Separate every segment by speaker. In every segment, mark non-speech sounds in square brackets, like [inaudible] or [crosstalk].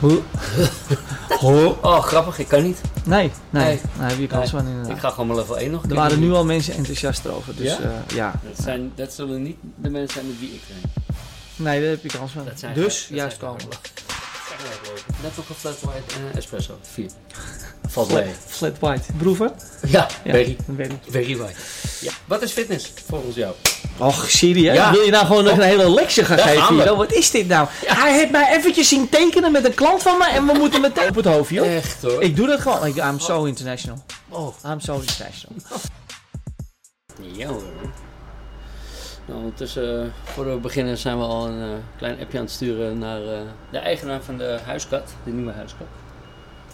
Speaker 1: Hoe? Hoe?
Speaker 2: Oh, grappig, ik kan niet.
Speaker 1: Nee, nee.
Speaker 2: Nee.
Speaker 1: Nou, heb je kans van
Speaker 2: Ik
Speaker 1: inderdaad.
Speaker 2: ga gewoon mijn level 1 nog een
Speaker 1: Er
Speaker 2: keer
Speaker 1: waren
Speaker 2: doen.
Speaker 1: nu al mensen enthousiast over, dus
Speaker 2: Ja?
Speaker 1: ja. ja.
Speaker 2: Dat, zijn, dat zullen niet de mensen zijn met wie ik train.
Speaker 1: Nee, daar heb je kans van.
Speaker 2: Dat zijn
Speaker 1: dus
Speaker 2: geen- dat
Speaker 1: juist
Speaker 2: zijn
Speaker 1: komen.
Speaker 2: geen hardlopen. Net ook een flat white en een espresso.
Speaker 1: [laughs]
Speaker 2: Vier. Valt mee.
Speaker 1: Flat white. Proeven?
Speaker 2: Ja, very,
Speaker 1: dat weet ik.
Speaker 2: very white. Ja. Wat is fitness volgens jou?
Speaker 1: Och, serieus?
Speaker 2: Ja.
Speaker 1: Wil je nou gewoon nog een hele lectie gaan
Speaker 2: Daar gaan
Speaker 1: geven?
Speaker 2: we.
Speaker 1: Hiro? Wat is dit nou? Hij heeft mij eventjes zien tekenen met een klant van me en we moeten meteen op het hoofd, joh.
Speaker 2: Echt hoor.
Speaker 1: Eh, Ik doe dat gewoon. Ik, I'm so international.
Speaker 2: Oh.
Speaker 1: I'm so international.
Speaker 2: Ja hoor. Nou, ondertussen, eh, voordat we beginnen, zijn we al een eh, klein appje aan het sturen naar eh, de eigenaar van de huiskat. De nieuwe huiskat.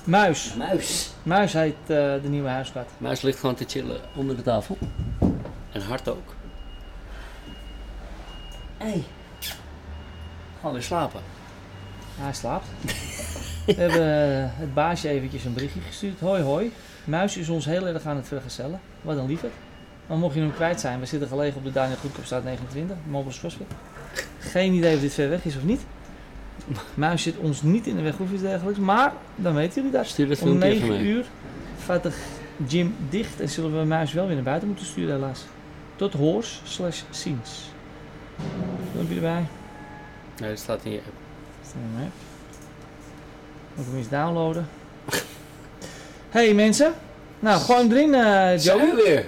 Speaker 1: Muis.
Speaker 2: Muis.
Speaker 1: Muis heet eh, de nieuwe huiskat.
Speaker 2: Muis ligt gewoon te chillen onder de tafel. En hard ook. Hé. Hey. Gewoon weer slapen.
Speaker 1: Hij slaapt. We [laughs] hebben eh, het baasje eventjes een berichtje gestuurd. Hoi hoi. Muis is ons heel erg aan het vergezellen. Wat een lieverd. Maar mocht je hem kwijt zijn, we zitten gelegen op de Daniel Goedkoopstraat 29, Mobiles CrossFit. Geen idee of dit ver weg is of niet. Muis zit ons niet in de weg of iets dergelijks, maar dan weten jullie dat.
Speaker 2: Stuur dat
Speaker 1: Om
Speaker 2: filmpje even
Speaker 1: 9
Speaker 2: mee.
Speaker 1: uur gaat de gym dicht en zullen we Muis wel weer naar buiten moeten sturen helaas. Tot hoors slash ziens. Filmpje erbij.
Speaker 2: Nee, dat staat hier.
Speaker 1: Nee. Moet ik hem eens downloaden. [laughs] hey mensen. Nou, gewoon erin, eh
Speaker 2: Zo
Speaker 1: Joey.
Speaker 2: weer.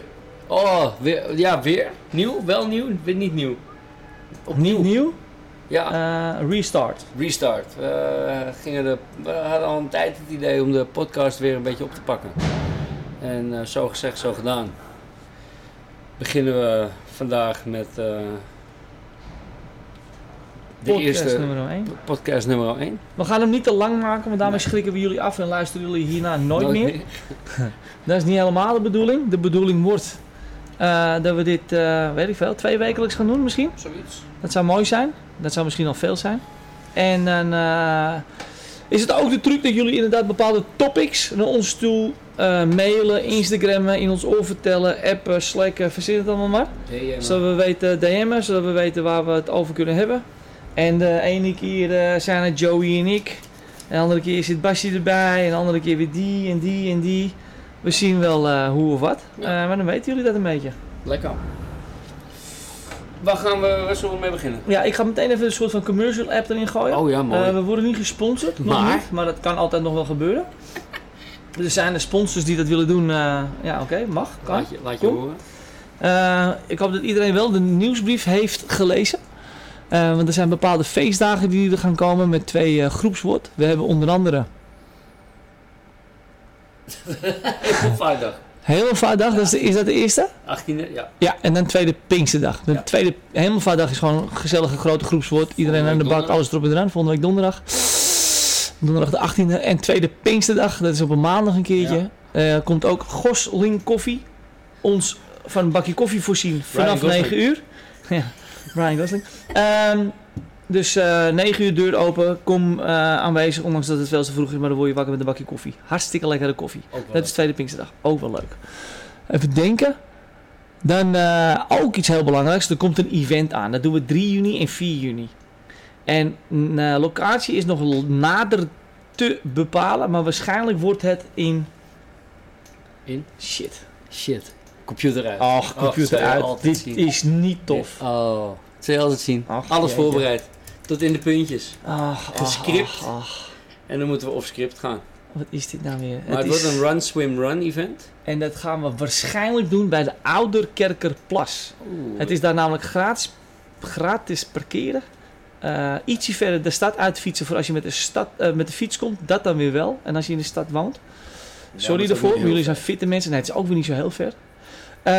Speaker 2: Oh, weer, ja, weer. Nieuw, wel nieuw, weer niet nieuw. Opnieuw. Ah.
Speaker 1: Nieuw.
Speaker 2: Ja,
Speaker 1: eh, restart.
Speaker 2: restart. We, eh, gingen de, we hadden al een tijd het idee om de podcast weer een beetje op te pakken. En eh, zo gezegd, zo gedaan. Beginnen we vandaag met eh, de
Speaker 1: Podcast
Speaker 2: eerste
Speaker 1: nummer 1.
Speaker 2: podcast nummer 1.
Speaker 1: We gaan hem niet te lang maken, want daarmee schrikken we jullie af en luisteren jullie hierna nooit, meer. Dat is niet helemaal de bedoeling. De bedoeling wordt eh, dat we dit, eh, weet ik veel, twee wekelijks gaan doen misschien.
Speaker 2: Zoiets.
Speaker 1: Dat zou mooi zijn. Dat zou misschien al veel zijn. En dan eh, is het ook de truc dat jullie inderdaad bepaalde topics naar ons toe eh, mailen, Instagrammen, in ons oor vertellen, appen, slacken, verzin het allemaal maar.
Speaker 2: DM.
Speaker 1: Zodat we weten DM'en, zodat we weten waar we het over kunnen hebben. En de ene keer eh, zijn het Joey en ik. En de andere keer zit Basje erbij. En de andere keer weer die en die en die. We zien wel eh, hoe of wat.
Speaker 2: Ja.
Speaker 1: Eh, maar dan weten jullie dat een beetje.
Speaker 2: Lekker. Waar gaan we, waar zullen we mee beginnen?
Speaker 1: Ja, ik ga meteen even een soort van commercial app erin gooien.
Speaker 2: Oh ja,
Speaker 1: Eh,
Speaker 2: mooi.
Speaker 1: we worden niet gesponsord, nog
Speaker 2: Maar?
Speaker 1: niet, maar dat kan altijd nog wel gebeuren. Dus Er zijn er sponsors die dat willen doen. eh, ja, oké, mag, kan.
Speaker 2: laat je, laat je [laughs]
Speaker 1: Kom.
Speaker 2: horen.
Speaker 1: Eh, ik hoop dat iedereen wel de nieuwsbrief heeft gelezen. Eh, want er zijn bepaalde feestdagen die er gaan komen met twee eh, groepswoord. We hebben onder andere
Speaker 2: Even vrijdag.
Speaker 1: Hemelvaartdag, dat is, de- is dat de eerste?
Speaker 2: 18e, ja.
Speaker 1: Ja, en dan tweede Pinksterdag. De
Speaker 2: Ja.
Speaker 1: tweede Hemelvaartdag is gewoon een gezellige grote groepswoord. Iedereen
Speaker 2: Volgende
Speaker 1: aan de
Speaker 2: week
Speaker 1: bak, alles erop en eraan. Volgende week donderdag. Donderdag de 18e. En tweede Pinksterdag, dat is op een maandag een keertje. Eh, komt ook Gosling Koffie ons van een bakje koffie voorzien vanaf
Speaker 2: Gosling.
Speaker 1: 9 uur. [laughs] Ja, Brian Gosling. Ehm, dus eh 9 uur deur open. Kom eh, aanwezig, ondanks dat het veel te vroeg is. Maar dan word je wakker met een bakje koffie. Hartstikke lekkere koffie.
Speaker 2: Ook wel.
Speaker 1: Dat is tweede Pinksterdag. Ook wel leuk. Even denken. Dan eh, ook iets heel belangrijks. Er komt een event aan. Dat doen we 3 juni en 4 juni. En mm, eh, locatie is nog l- nader te bepalen. Maar waarschijnlijk wordt het in...
Speaker 2: In? Eh, oh,
Speaker 1: Shit.
Speaker 2: Shit. Computer uit.
Speaker 1: Ach, computer
Speaker 2: dat zal je
Speaker 1: uit.
Speaker 2: altijd
Speaker 1: Dit
Speaker 2: zien.
Speaker 1: is niet tof.
Speaker 2: Oh, dat zul je altijd zien.
Speaker 1: Ach,
Speaker 2: Alles
Speaker 1: jeetje.
Speaker 2: voorbereid. Tot in de puntjes.
Speaker 1: Ach, ach,
Speaker 2: Gescript.
Speaker 1: ach, ach.
Speaker 2: En dan moeten we op script gaan.
Speaker 1: Wat is dit nou weer?
Speaker 2: Maar het,
Speaker 1: Het is-
Speaker 2: wordt een run, swim, run event.
Speaker 1: En dat gaan we waarschijnlijk doen bij de Ouderkerkerplas.
Speaker 2: Oeh.
Speaker 1: Het is daar namelijk gratis, gratis parkeren. Eh, ietsje verder de stad uitfietsen voor als je met de, stad, eh, met de fiets komt. Dat dan weer wel. En als je in de stad woont. Sorry daarvoor, maar jullie zijn fitte mensen. Nee, het is ook weer niet zo heel ver. Eh,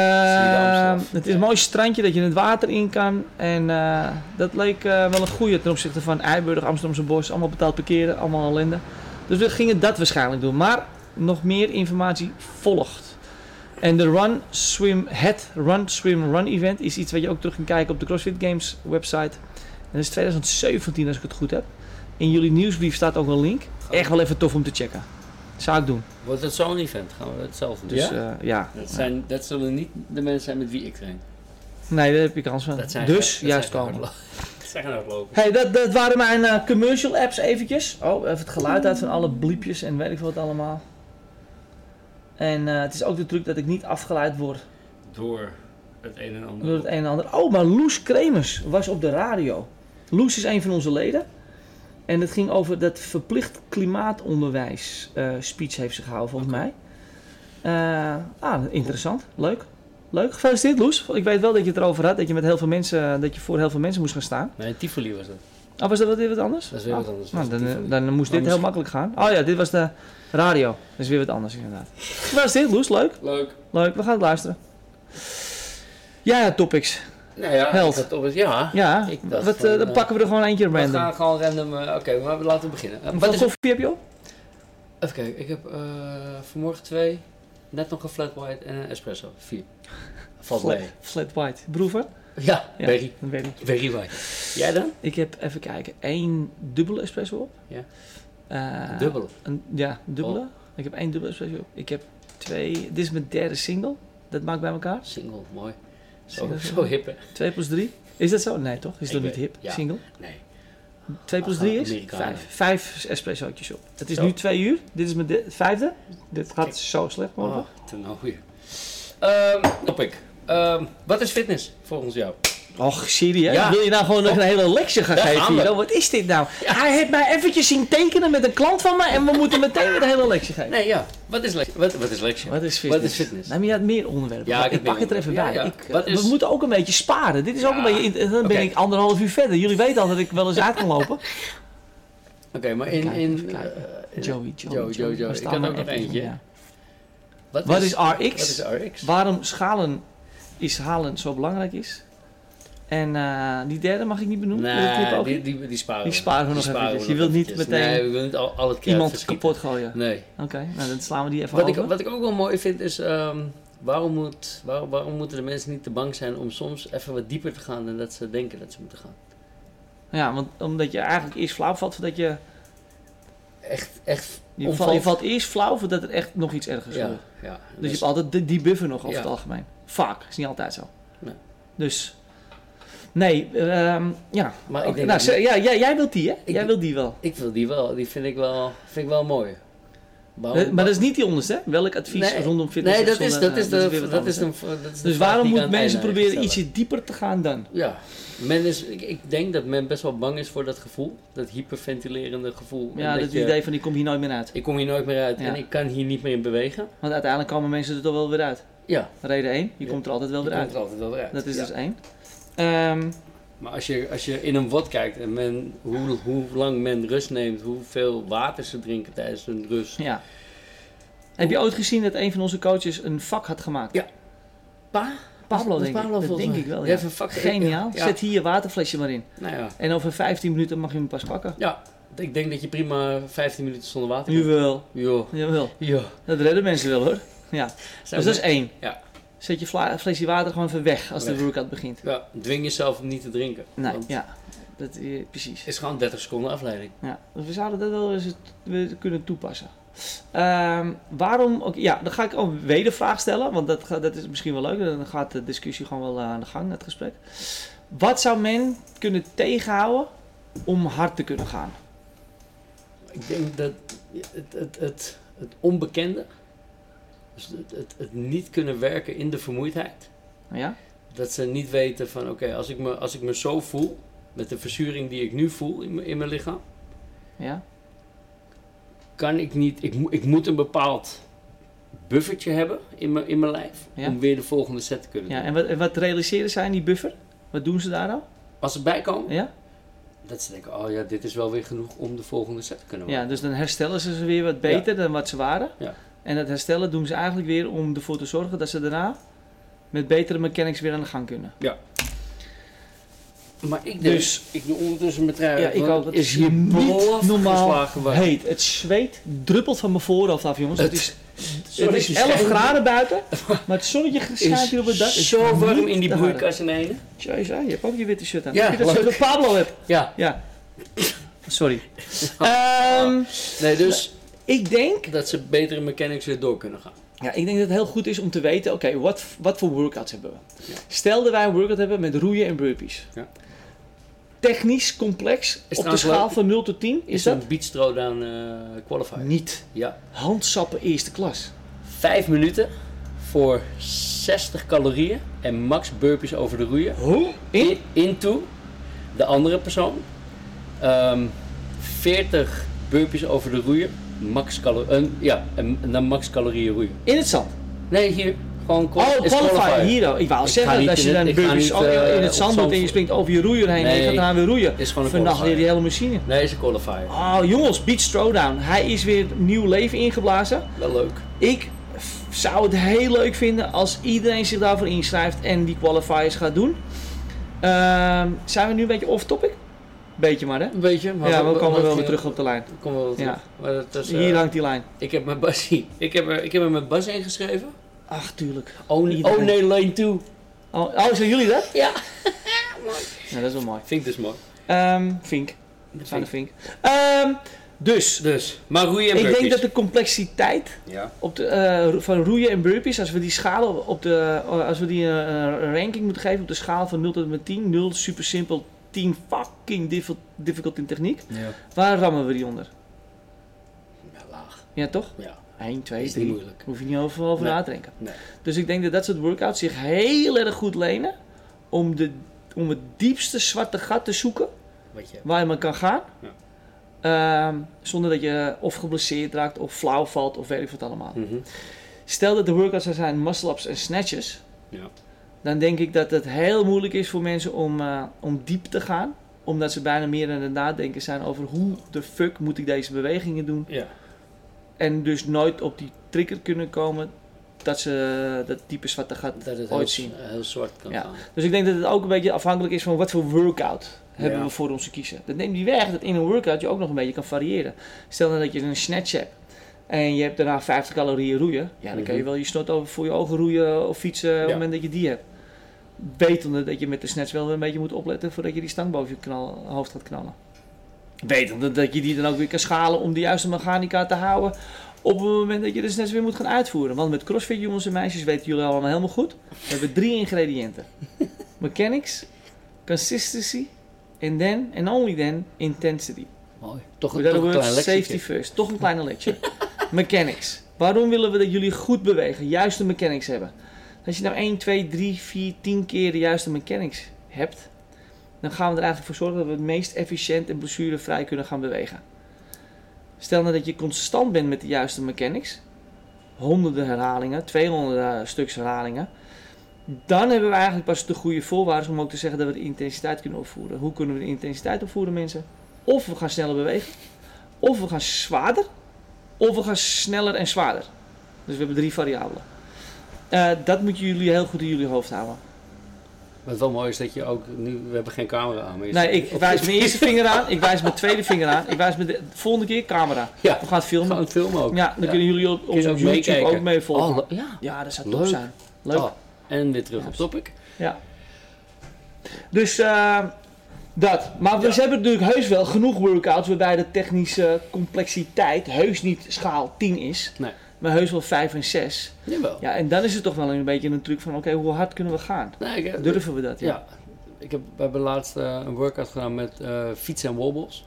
Speaker 2: Amsterdam.
Speaker 1: het is een mooi strandje dat je het water in kan. En eh, dat leek eh, wel een goede ten opzichte van Eiburg, Amsterdamse Bos. Allemaal betaald parkeren, allemaal ellende. Dus we gingen dat waarschijnlijk doen. Maar nog meer informatie volgt. En de Run Swim, het Run Swim Run event is iets wat je ook terug kan kijken op de CrossFit Games website. En dat is 2017 als ik het goed heb. In jullie nieuwsbrief staat ook een link. Echt wel even tof om te checken. Zou ik doen.
Speaker 2: Wordt het zo'n event? Gaan we hetzelfde doen?
Speaker 1: Dus eh, ja.
Speaker 2: Dat, zijn, dat zullen niet de mensen zijn met wie ik train.
Speaker 1: Nee, daar heb je kans van.
Speaker 2: Dat zijn
Speaker 1: dus
Speaker 2: geen- dat
Speaker 1: juist
Speaker 2: zijn geen
Speaker 1: komen.
Speaker 2: hardlo- [laughs] Zeg nou lopen.
Speaker 1: Hey, dat, dat waren mijn eh, commercial apps eventjes. Oh, even het geluid uit van alle bliepjes en weet ik wat allemaal. En eh, het is ook de truc dat ik niet afgeleid word
Speaker 2: Door het een en ander.
Speaker 1: door het een en ander. Oh, maar Loes Kremers was op de radio. Loes is een van onze leden. En het ging over dat verplicht klimaatonderwijs eh, speech heeft ze gehouden, volgens mij. Eh, ah, interessant. Leuk. Leuk. Gefeliciteerd, Loes. Ik weet wel dat je het erover had, dat je, met heel veel mensen, eh, dat je voor heel veel mensen moest gaan staan.
Speaker 2: Nee, Tivoli was dat.
Speaker 1: Oh, was dat wat- weer wat anders?
Speaker 2: Dat is weer
Speaker 1: Oh.
Speaker 2: wat anders.
Speaker 1: Nou,
Speaker 2: Dat
Speaker 1: dan,
Speaker 2: is
Speaker 1: eh,
Speaker 2: Tivoli.
Speaker 1: dan moest
Speaker 2: Maar
Speaker 1: dit heel makkelijk gaan. Oh ja, dit was de radio. Dat is weer wat anders inderdaad. Was dit, Loes? Leuk.
Speaker 2: Leuk.
Speaker 1: Leuk, we gaan het luisteren. Ja, ja, topics.
Speaker 2: Nou ja,
Speaker 1: Held.
Speaker 2: ik had toch eens- ja.
Speaker 1: Ja,
Speaker 2: Ik dacht
Speaker 1: wat, eh,
Speaker 2: van,
Speaker 1: dan
Speaker 2: eh,
Speaker 1: pakken we er gewoon eentje
Speaker 2: We
Speaker 1: random.
Speaker 2: gaan gewoon random. eh, Oké, maar laten we beginnen. Eh,
Speaker 1: Wat
Speaker 2: wat is
Speaker 1: koffie heb je op?
Speaker 2: Even kijken, ik heb eh, vanmorgen twee, net nog een flat white en een espresso. Vier. Valt mee.
Speaker 1: Flat white. Broeven?
Speaker 2: Ja,
Speaker 1: Ja.
Speaker 2: berry.
Speaker 1: Dat weet ik.
Speaker 2: Berry white. Jij dan?
Speaker 1: Ik heb, even kijken, één dubbele espresso op.
Speaker 2: Ja. Oh.
Speaker 1: Eh,
Speaker 2: Dubbel.
Speaker 1: Een, ja, dubbele. Ik heb één dubbele espresso op. Ik heb twee... Dit is mijn derde single. Dat maakt bij elkaar.
Speaker 2: Single, mooi. Zo,
Speaker 1: Single.
Speaker 2: zo hip hè?
Speaker 1: Twee plus drie. Is dat zo? Nee, toch? Is
Speaker 2: Ik
Speaker 1: dat niet
Speaker 2: weet-
Speaker 1: hip?
Speaker 2: ja.
Speaker 1: Single?
Speaker 2: Nee.
Speaker 1: 2 plus
Speaker 2: Ach,
Speaker 1: 3 is?
Speaker 2: Amerikanen.
Speaker 1: Vijf. Vijf espressootjes op. Het is
Speaker 2: Zo.
Speaker 1: nu twee uur. Dit is mijn de- vijfde. Dit gaat zo slecht morgen.
Speaker 2: Oh, ten nou weer. Ehm, op ik. Ehm, wat is fitness volgens jou?
Speaker 1: Och, serieus?
Speaker 2: Ja.
Speaker 1: Wil je nou gewoon nog een hele lectie gaan
Speaker 2: Ja,
Speaker 1: geven?
Speaker 2: gaan we.
Speaker 1: Guido? Wat is dit nou? Hij heeft mij eventjes zien tekenen met een klant van me en we moeten meteen weer de hele lectie geven.
Speaker 2: Nee, ja. Wat is lecture? Wat, wat is lecture?
Speaker 1: Wat is fitness?
Speaker 2: Wat is fitness?
Speaker 1: Nou, maar je had meer onderwerpen.
Speaker 2: Ja,
Speaker 1: Maar
Speaker 2: ik
Speaker 1: ik
Speaker 2: heb
Speaker 1: pak
Speaker 2: meer
Speaker 1: het er even bij.
Speaker 2: onderwerpen. Ja, ja.
Speaker 1: Ik, eh,
Speaker 2: Wat is-
Speaker 1: We moeten ook een beetje sparen. Dit is ook
Speaker 2: Ja.
Speaker 1: een beetje... Dan ben
Speaker 2: Oké.
Speaker 1: ik anderhalf uur verder. Jullie weten al dat ik wel eens uit kan
Speaker 2: [laughs]
Speaker 1: lopen.
Speaker 2: Oké, maar in...
Speaker 1: Even kijken,
Speaker 2: in
Speaker 1: even kijken.
Speaker 2: eh, in-
Speaker 1: Joey, Joey,
Speaker 2: Joe, Joe, Joe.
Speaker 1: Waar
Speaker 2: Ik
Speaker 1: staan
Speaker 2: had
Speaker 1: we
Speaker 2: ook nog
Speaker 1: even?
Speaker 2: eentje.
Speaker 1: Ja. Wat is RX?
Speaker 2: Wat is RX?
Speaker 1: waarom schalen is halen zo belangrijk is. En eh, die derde mag ik niet benoemen. Wil je die
Speaker 2: Nee,
Speaker 1: ook
Speaker 2: die,
Speaker 1: niet?
Speaker 2: die, die sparen
Speaker 1: Die sparen we nog eventjes. Je wilt niet
Speaker 2: eventjes.
Speaker 1: meteen
Speaker 2: Nee, we willen niet al, al het keer
Speaker 1: Iemand kapot gooien.
Speaker 2: Nee.
Speaker 1: Oké, nou dan slaan we die even
Speaker 2: Wat ik,
Speaker 1: over.
Speaker 2: wat ik ook wel mooi vind is, ehm, waarom, moet, waar- waarom moeten de mensen niet te bang zijn om soms even wat dieper te gaan dan dat ze denken dat ze moeten gaan?
Speaker 1: Ja, want omdat je eigenlijk eerst flauw valt voordat je...
Speaker 2: Echt, echt
Speaker 1: Je, valt- je valt eerst flauw voordat er echt nog iets ergers
Speaker 2: Ja,
Speaker 1: gebeurt.
Speaker 2: ja.
Speaker 1: Dus je hebt altijd die, die buffer nog over
Speaker 2: Ja.
Speaker 1: het algemeen. Vaak, is niet altijd zo.
Speaker 2: Nee.
Speaker 1: Dus... Nee, ehm, ja.
Speaker 2: Maar Ah, ik denk
Speaker 1: Oké, nou,
Speaker 2: dat-
Speaker 1: ze- ja, jij, jij wilt die, hè?
Speaker 2: Ik-
Speaker 1: jij wilt die wel.
Speaker 2: ik wil die wel, die vind ik wel, vind ik wel mooi. Waarom-
Speaker 1: Eh, maar dat is niet die onderste, hè? Welk advies
Speaker 2: Oh, Nee.
Speaker 1: rondom fitness
Speaker 2: Nee,
Speaker 1: of
Speaker 2: dat is,
Speaker 1: zonder-
Speaker 2: dat is,
Speaker 1: nou,
Speaker 2: de,
Speaker 1: weer wat
Speaker 2: dat
Speaker 1: anders,
Speaker 2: is
Speaker 1: hè?
Speaker 2: de, dat is de
Speaker 1: Dus
Speaker 2: vraag
Speaker 1: waarom
Speaker 2: die ik
Speaker 1: moeten
Speaker 2: aan
Speaker 1: mensen
Speaker 2: het einde
Speaker 1: proberen
Speaker 2: stellen.
Speaker 1: ietsje dieper te gaan dan?
Speaker 2: Ja, men is, ik, ik denk dat men best wel bang is voor dat gevoel, dat hyperventilerende gevoel.
Speaker 1: Ja,
Speaker 2: dat
Speaker 1: dat,
Speaker 2: je-
Speaker 1: idee van die komt hier nooit meer uit.
Speaker 2: Ik kom hier nooit meer uit
Speaker 1: Ja.
Speaker 2: en ik kan hier niet meer in bewegen.
Speaker 1: Want uiteindelijk komen mensen er toch wel weer uit.
Speaker 2: Ja,
Speaker 1: Reden 1, je
Speaker 2: Ja.
Speaker 1: komt er altijd wel
Speaker 2: je
Speaker 1: weer
Speaker 2: komt
Speaker 1: uit.
Speaker 2: er altijd wel weer uit.
Speaker 1: Dat is
Speaker 2: Ja.
Speaker 1: dus één. Ehm,
Speaker 2: Maar als je, als je in een wod kijkt en men, hoe, hoe lang men rust neemt, hoeveel water ze drinken tijdens hun rust.
Speaker 1: ja. Heb je ooit gezien dat een van onze coaches een vak had gemaakt?
Speaker 2: Ja. Pa?
Speaker 1: Pablo,
Speaker 2: Dat is
Speaker 1: denk
Speaker 2: Pablo
Speaker 1: ik. Dat
Speaker 2: volgens
Speaker 1: denk
Speaker 2: mij.
Speaker 1: ik wel.
Speaker 2: Die
Speaker 1: Ja.
Speaker 2: heeft een vak-
Speaker 1: Geniaal.
Speaker 2: Ja.
Speaker 1: Zet hier je waterflesje maar in.
Speaker 2: Nou ja.
Speaker 1: En over 15 minuten mag je hem pas pakken.
Speaker 2: ja, ik denk dat je prima 15 minuten zonder water kunt.
Speaker 1: Jawel.
Speaker 2: Jo.
Speaker 1: Jawel.
Speaker 2: Jo.
Speaker 1: Dat redden mensen wel hoor. Ja. Dus dat is één.
Speaker 2: Ja.
Speaker 1: Zet je vla- flesje water gewoon even weg als
Speaker 2: Weg.
Speaker 1: de workout begint.
Speaker 2: Ja, dwing jezelf om niet te drinken.
Speaker 1: Nee,
Speaker 2: Want
Speaker 1: ja. Dat, eh, precies.
Speaker 2: Het is gewoon 30 seconden afleiding.
Speaker 1: Ja, dus we zouden dat wel eens het- we kunnen toepassen. Ehm, waarom ook, ja, dan ga ik ook weer de vraag stellen, want dat, ga- dat is misschien wel leuk. Dan gaat de discussie gewoon wel eh, aan de gang, het gesprek. Wat zou men kunnen tegenhouden om hard te kunnen gaan?
Speaker 2: Ik denk dat het, het, het, het onbekende, dus het, het, het niet kunnen werken in de vermoeidheid,
Speaker 1: Ja?
Speaker 2: Dat ze niet weten van oké, als, ik me- als ik me zo voel, met de verzuring die ik nu voel in, mijn- in mijn lichaam,
Speaker 1: Ja?
Speaker 2: kan ik niet, ik, moet- ik moet een bepaald buffertje hebben in mijn, in mijn lijf
Speaker 1: Ja.
Speaker 2: om weer de volgende set te kunnen
Speaker 1: ja
Speaker 2: doen.
Speaker 1: en, wat, en wat realiseren zij in die buffer? Wat doen ze daar nou?
Speaker 2: Als ze bijkomen,
Speaker 1: Ja?
Speaker 2: dat ze denken, oh ja, dit is wel weer genoeg om de volgende set te kunnen maken.
Speaker 1: ja, dus dan herstellen ze ze weer wat beter dan wat ze waren.
Speaker 2: Ja.
Speaker 1: En dat herstellen doen ze eigenlijk weer om ervoor te zorgen dat ze daarna met betere mechanics weer aan de gang kunnen.
Speaker 2: Maar ik dus,
Speaker 1: Dus-
Speaker 2: ik doe ondertussen mijn trui.
Speaker 1: Ja,
Speaker 2: uit,
Speaker 1: ik
Speaker 2: want het
Speaker 1: ook. Het
Speaker 2: is
Speaker 1: is
Speaker 2: hier
Speaker 1: niet
Speaker 2: belachelijk
Speaker 1: normaal
Speaker 2: geslagen waar.
Speaker 1: Heet, het zweet druppelt van mijn voorhoofd af, jongens. Het, is, het is 11 graden
Speaker 2: [laughs]
Speaker 1: buiten, maar het zonnetje schijnt hier op het dak. Het
Speaker 2: is
Speaker 1: is
Speaker 2: zo warm
Speaker 1: niet
Speaker 2: in die
Speaker 1: te harden.
Speaker 2: broeikas in ene.
Speaker 1: Jezus, ah, je hebt ook je witte shirt aan.
Speaker 2: Ja,
Speaker 1: Ja, dat
Speaker 2: leuk.
Speaker 1: shirt dat Pablo hebt.
Speaker 2: Ja,
Speaker 1: Ja.
Speaker 2: [laughs]
Speaker 1: Sorry.
Speaker 2: Oh.
Speaker 1: Ehm,
Speaker 2: nee, dus
Speaker 1: ik denk
Speaker 2: dat ze betere mechanics weer door kunnen gaan.
Speaker 1: Ja, ik denk dat het heel goed is om te weten, oké, wat, wat voor workouts hebben we?
Speaker 2: Ja.
Speaker 1: Stel dat wij een workout hebben met roeien en burpees.
Speaker 2: Ja.
Speaker 1: technisch complex
Speaker 2: Is
Speaker 1: op de
Speaker 2: trouwens
Speaker 1: schaal
Speaker 2: leuk.
Speaker 1: van 0 tot 10? Is,
Speaker 2: Is
Speaker 1: dat?
Speaker 2: een beachthrow dan eh qualifier?
Speaker 1: Niet.
Speaker 2: Ja.
Speaker 1: Handsappen eerste klas.
Speaker 2: Vijf minuten voor 60 calorieën en max burpees over de roeien.
Speaker 1: Hoe? In?
Speaker 2: In, into de andere persoon. Ehm 40 burpees over de roeien. Max calorieën. ja, en, en dan max calorieën roeien.
Speaker 1: In het zand.
Speaker 2: Nee, hier. Gewoon quali-
Speaker 1: Oh,
Speaker 2: is
Speaker 1: qualifier. Hier ook. Ik wou
Speaker 2: Ik ga
Speaker 1: zeggen,
Speaker 2: niet
Speaker 1: dat als je
Speaker 2: in het-
Speaker 1: dan
Speaker 2: ik ga
Speaker 1: burpees
Speaker 2: niet,
Speaker 1: ook
Speaker 2: eh,
Speaker 1: in
Speaker 2: op
Speaker 1: het zand doet en je
Speaker 2: zand-
Speaker 1: springt over je roeier heen en je
Speaker 2: Nee,
Speaker 1: gaat daarna weer roeien.
Speaker 2: is gewoon een
Speaker 1: Vannacht
Speaker 2: qualifier.
Speaker 1: weer die hele machine.
Speaker 2: Nee, is een qualifier.
Speaker 1: Oh jongens, Beach Throwdown. Hij is weer nieuw leven ingeblazen.
Speaker 2: Wel leuk.
Speaker 1: Ik f- zou het heel leuk vinden als iedereen zich daarvoor inschrijft en die qualifiers gaat doen. Ehm, zijn we nu een beetje off topic? Beetje maar hè?
Speaker 2: Een beetje, maar
Speaker 1: ja, we Dus, komen wel weer
Speaker 2: gingen-
Speaker 1: terug op de lijn.
Speaker 2: we komen wel terug.
Speaker 1: Ja.
Speaker 2: Maar dat is, eh,
Speaker 1: Hier hangt die lijn.
Speaker 2: ik heb mijn [laughs] Bassie. Ik heb er, ik heb er mijn Bas ingeschreven.
Speaker 1: Ach, tuurlijk.
Speaker 2: Oh, nee-
Speaker 1: Iedereen.
Speaker 2: oh nee, lane 2.
Speaker 1: Oh, oh, zijn jullie dat?
Speaker 2: Ja.
Speaker 1: Ja, dat is wel mooi.
Speaker 2: Vind ik dus mooi.
Speaker 1: Ehm, Vink. Aan de Vink. Ehm, dus,
Speaker 2: Dus, maar roeien en
Speaker 1: ik
Speaker 2: burpees.
Speaker 1: denk dat de complexiteit
Speaker 2: Ja.
Speaker 1: op de, eh, ro- van roeien en burpees, als we die schalen op de, als we die eh, een ranking moeten geven op de schaal van 0 tot en met 10, 0 super simpel, 10 fucking diff- difficult in techniek,
Speaker 2: ja.
Speaker 1: waar rammen we die onder?
Speaker 2: laag.
Speaker 1: Ja toch?
Speaker 2: Ja,
Speaker 1: 1, 2,
Speaker 2: is niet
Speaker 1: 3.
Speaker 2: moeilijk.
Speaker 1: Hoef je niet over, over
Speaker 2: Nee.
Speaker 1: na te denken.
Speaker 2: Nee.
Speaker 1: Dus ik denk dat dat soort workouts zich heel erg goed lenen om, de, om het diepste zwarte gat te zoeken
Speaker 2: Wat je
Speaker 1: waar je maar kan gaan. Ehm, zonder dat je of geblesseerd raakt of flauw valt of weet ik wat allemaal.
Speaker 2: Mhm.
Speaker 1: Stel dat de workouts er zijn muscle-ups en snatches.
Speaker 2: Ja.
Speaker 1: Dan denk ik dat het heel moeilijk is voor mensen om, eh, om diep te gaan. Omdat ze bijna meer aan het nadenken zijn over hoe de fuck moet ik deze bewegingen doen.
Speaker 2: Ja.
Speaker 1: En dus nooit op die trigger kunnen komen dat ze dat diepe zwarte gat
Speaker 2: Dat het
Speaker 1: ooit
Speaker 2: heel,
Speaker 1: zien.
Speaker 2: heel zwart kan
Speaker 1: Ja.
Speaker 2: gaan.
Speaker 1: Dus ik denk dat het ook een beetje afhankelijk is van wat voor workout hebben
Speaker 2: Ja.
Speaker 1: we voor ons te kiezen. Dat neemt niet weg dat in een workout je ook nog een beetje kan variëren. Stel nou dat je een snatch hebt en je hebt daarna 50 calorieën roeien. Ja, dan kan je
Speaker 2: Mhm.
Speaker 1: wel je snot over voor je ogen roeien eh, of fietsen op het moment dat je die hebt. Wetende dat je met de snatch wel weer een beetje moet opletten voordat je die stang boven je knal, hoofd gaat knallen. Wetende dat je die dan ook weer kan schalen om de juiste mechanica te houden op het moment dat je de snatch weer moet gaan uitvoeren. Want met crossfit jongens en meisjes weten jullie allemaal helemaal goed. We hebben drie ingrediënten. Mechanics, consistency en then, and only then, intensity.
Speaker 2: Mooi. Toch
Speaker 1: We
Speaker 2: een, toch een
Speaker 1: hebben
Speaker 2: klein
Speaker 1: safety
Speaker 2: lectietje.
Speaker 1: first. Toch een kleine lecture. [laughs] mechanics. Waarom willen we dat jullie goed bewegen, juiste mechanics hebben? Als je nou 1, 2, 3, 4, 10 keer de juiste mechanics hebt, dan gaan we er eigenlijk voor zorgen dat we het meest efficiënt en blessurevrij kunnen gaan bewegen. Stel nou dat je constant bent met de juiste mechanics, honderden herhalingen, 200 eh, stuks herhalingen, dan hebben we eigenlijk pas de goede voorwaarden om ook te zeggen dat we de intensiteit kunnen opvoeren. Hoe kunnen we de intensiteit opvoeren, mensen? Of we gaan sneller bewegen, of we gaan zwaarder, of we gaan sneller en zwaarder. Dus we hebben drie variabelen. Eh, dat moeten jullie heel goed in jullie hoofd houden.
Speaker 2: Wat wel mooi is dat je ook nu, we hebben geen camera aan. Maar je
Speaker 1: Nee,
Speaker 2: zit-
Speaker 1: ik
Speaker 2: op-
Speaker 1: wijs
Speaker 2: [laughs]
Speaker 1: mijn eerste vinger aan, ik wijs mijn tweede vinger aan, ik wijs mijn de- volgende keer camera.
Speaker 2: Ja,
Speaker 1: We gaan het filmen.
Speaker 2: gewoon een film ook.
Speaker 1: Ja, dan kunnen jullie op, op
Speaker 2: Kun je ook
Speaker 1: YouTube
Speaker 2: meekijken.
Speaker 1: ook mee volgen.
Speaker 2: Oh, le- ja.
Speaker 1: ja, dat zou
Speaker 2: Leuk.
Speaker 1: top zijn. Leuk.
Speaker 2: Oh, en weer terug op topic.
Speaker 1: Ja. Dus eh, dat. Maar we
Speaker 2: Ja.
Speaker 1: hebben natuurlijk heus wel genoeg workouts waarbij de technische complexiteit heus niet schaal 10 is,
Speaker 2: Nee.
Speaker 1: maar heus wel 5 en 6.
Speaker 2: Jawel.
Speaker 1: Ja, en dan is het toch wel een beetje een truc van oké, hoe hard kunnen we gaan?
Speaker 2: Nee, ik,
Speaker 1: Durven we dat? Ja.
Speaker 2: Ja. Ik heb, we hebben laatst eh, een workout gedaan met eh, fietsen en wobbles.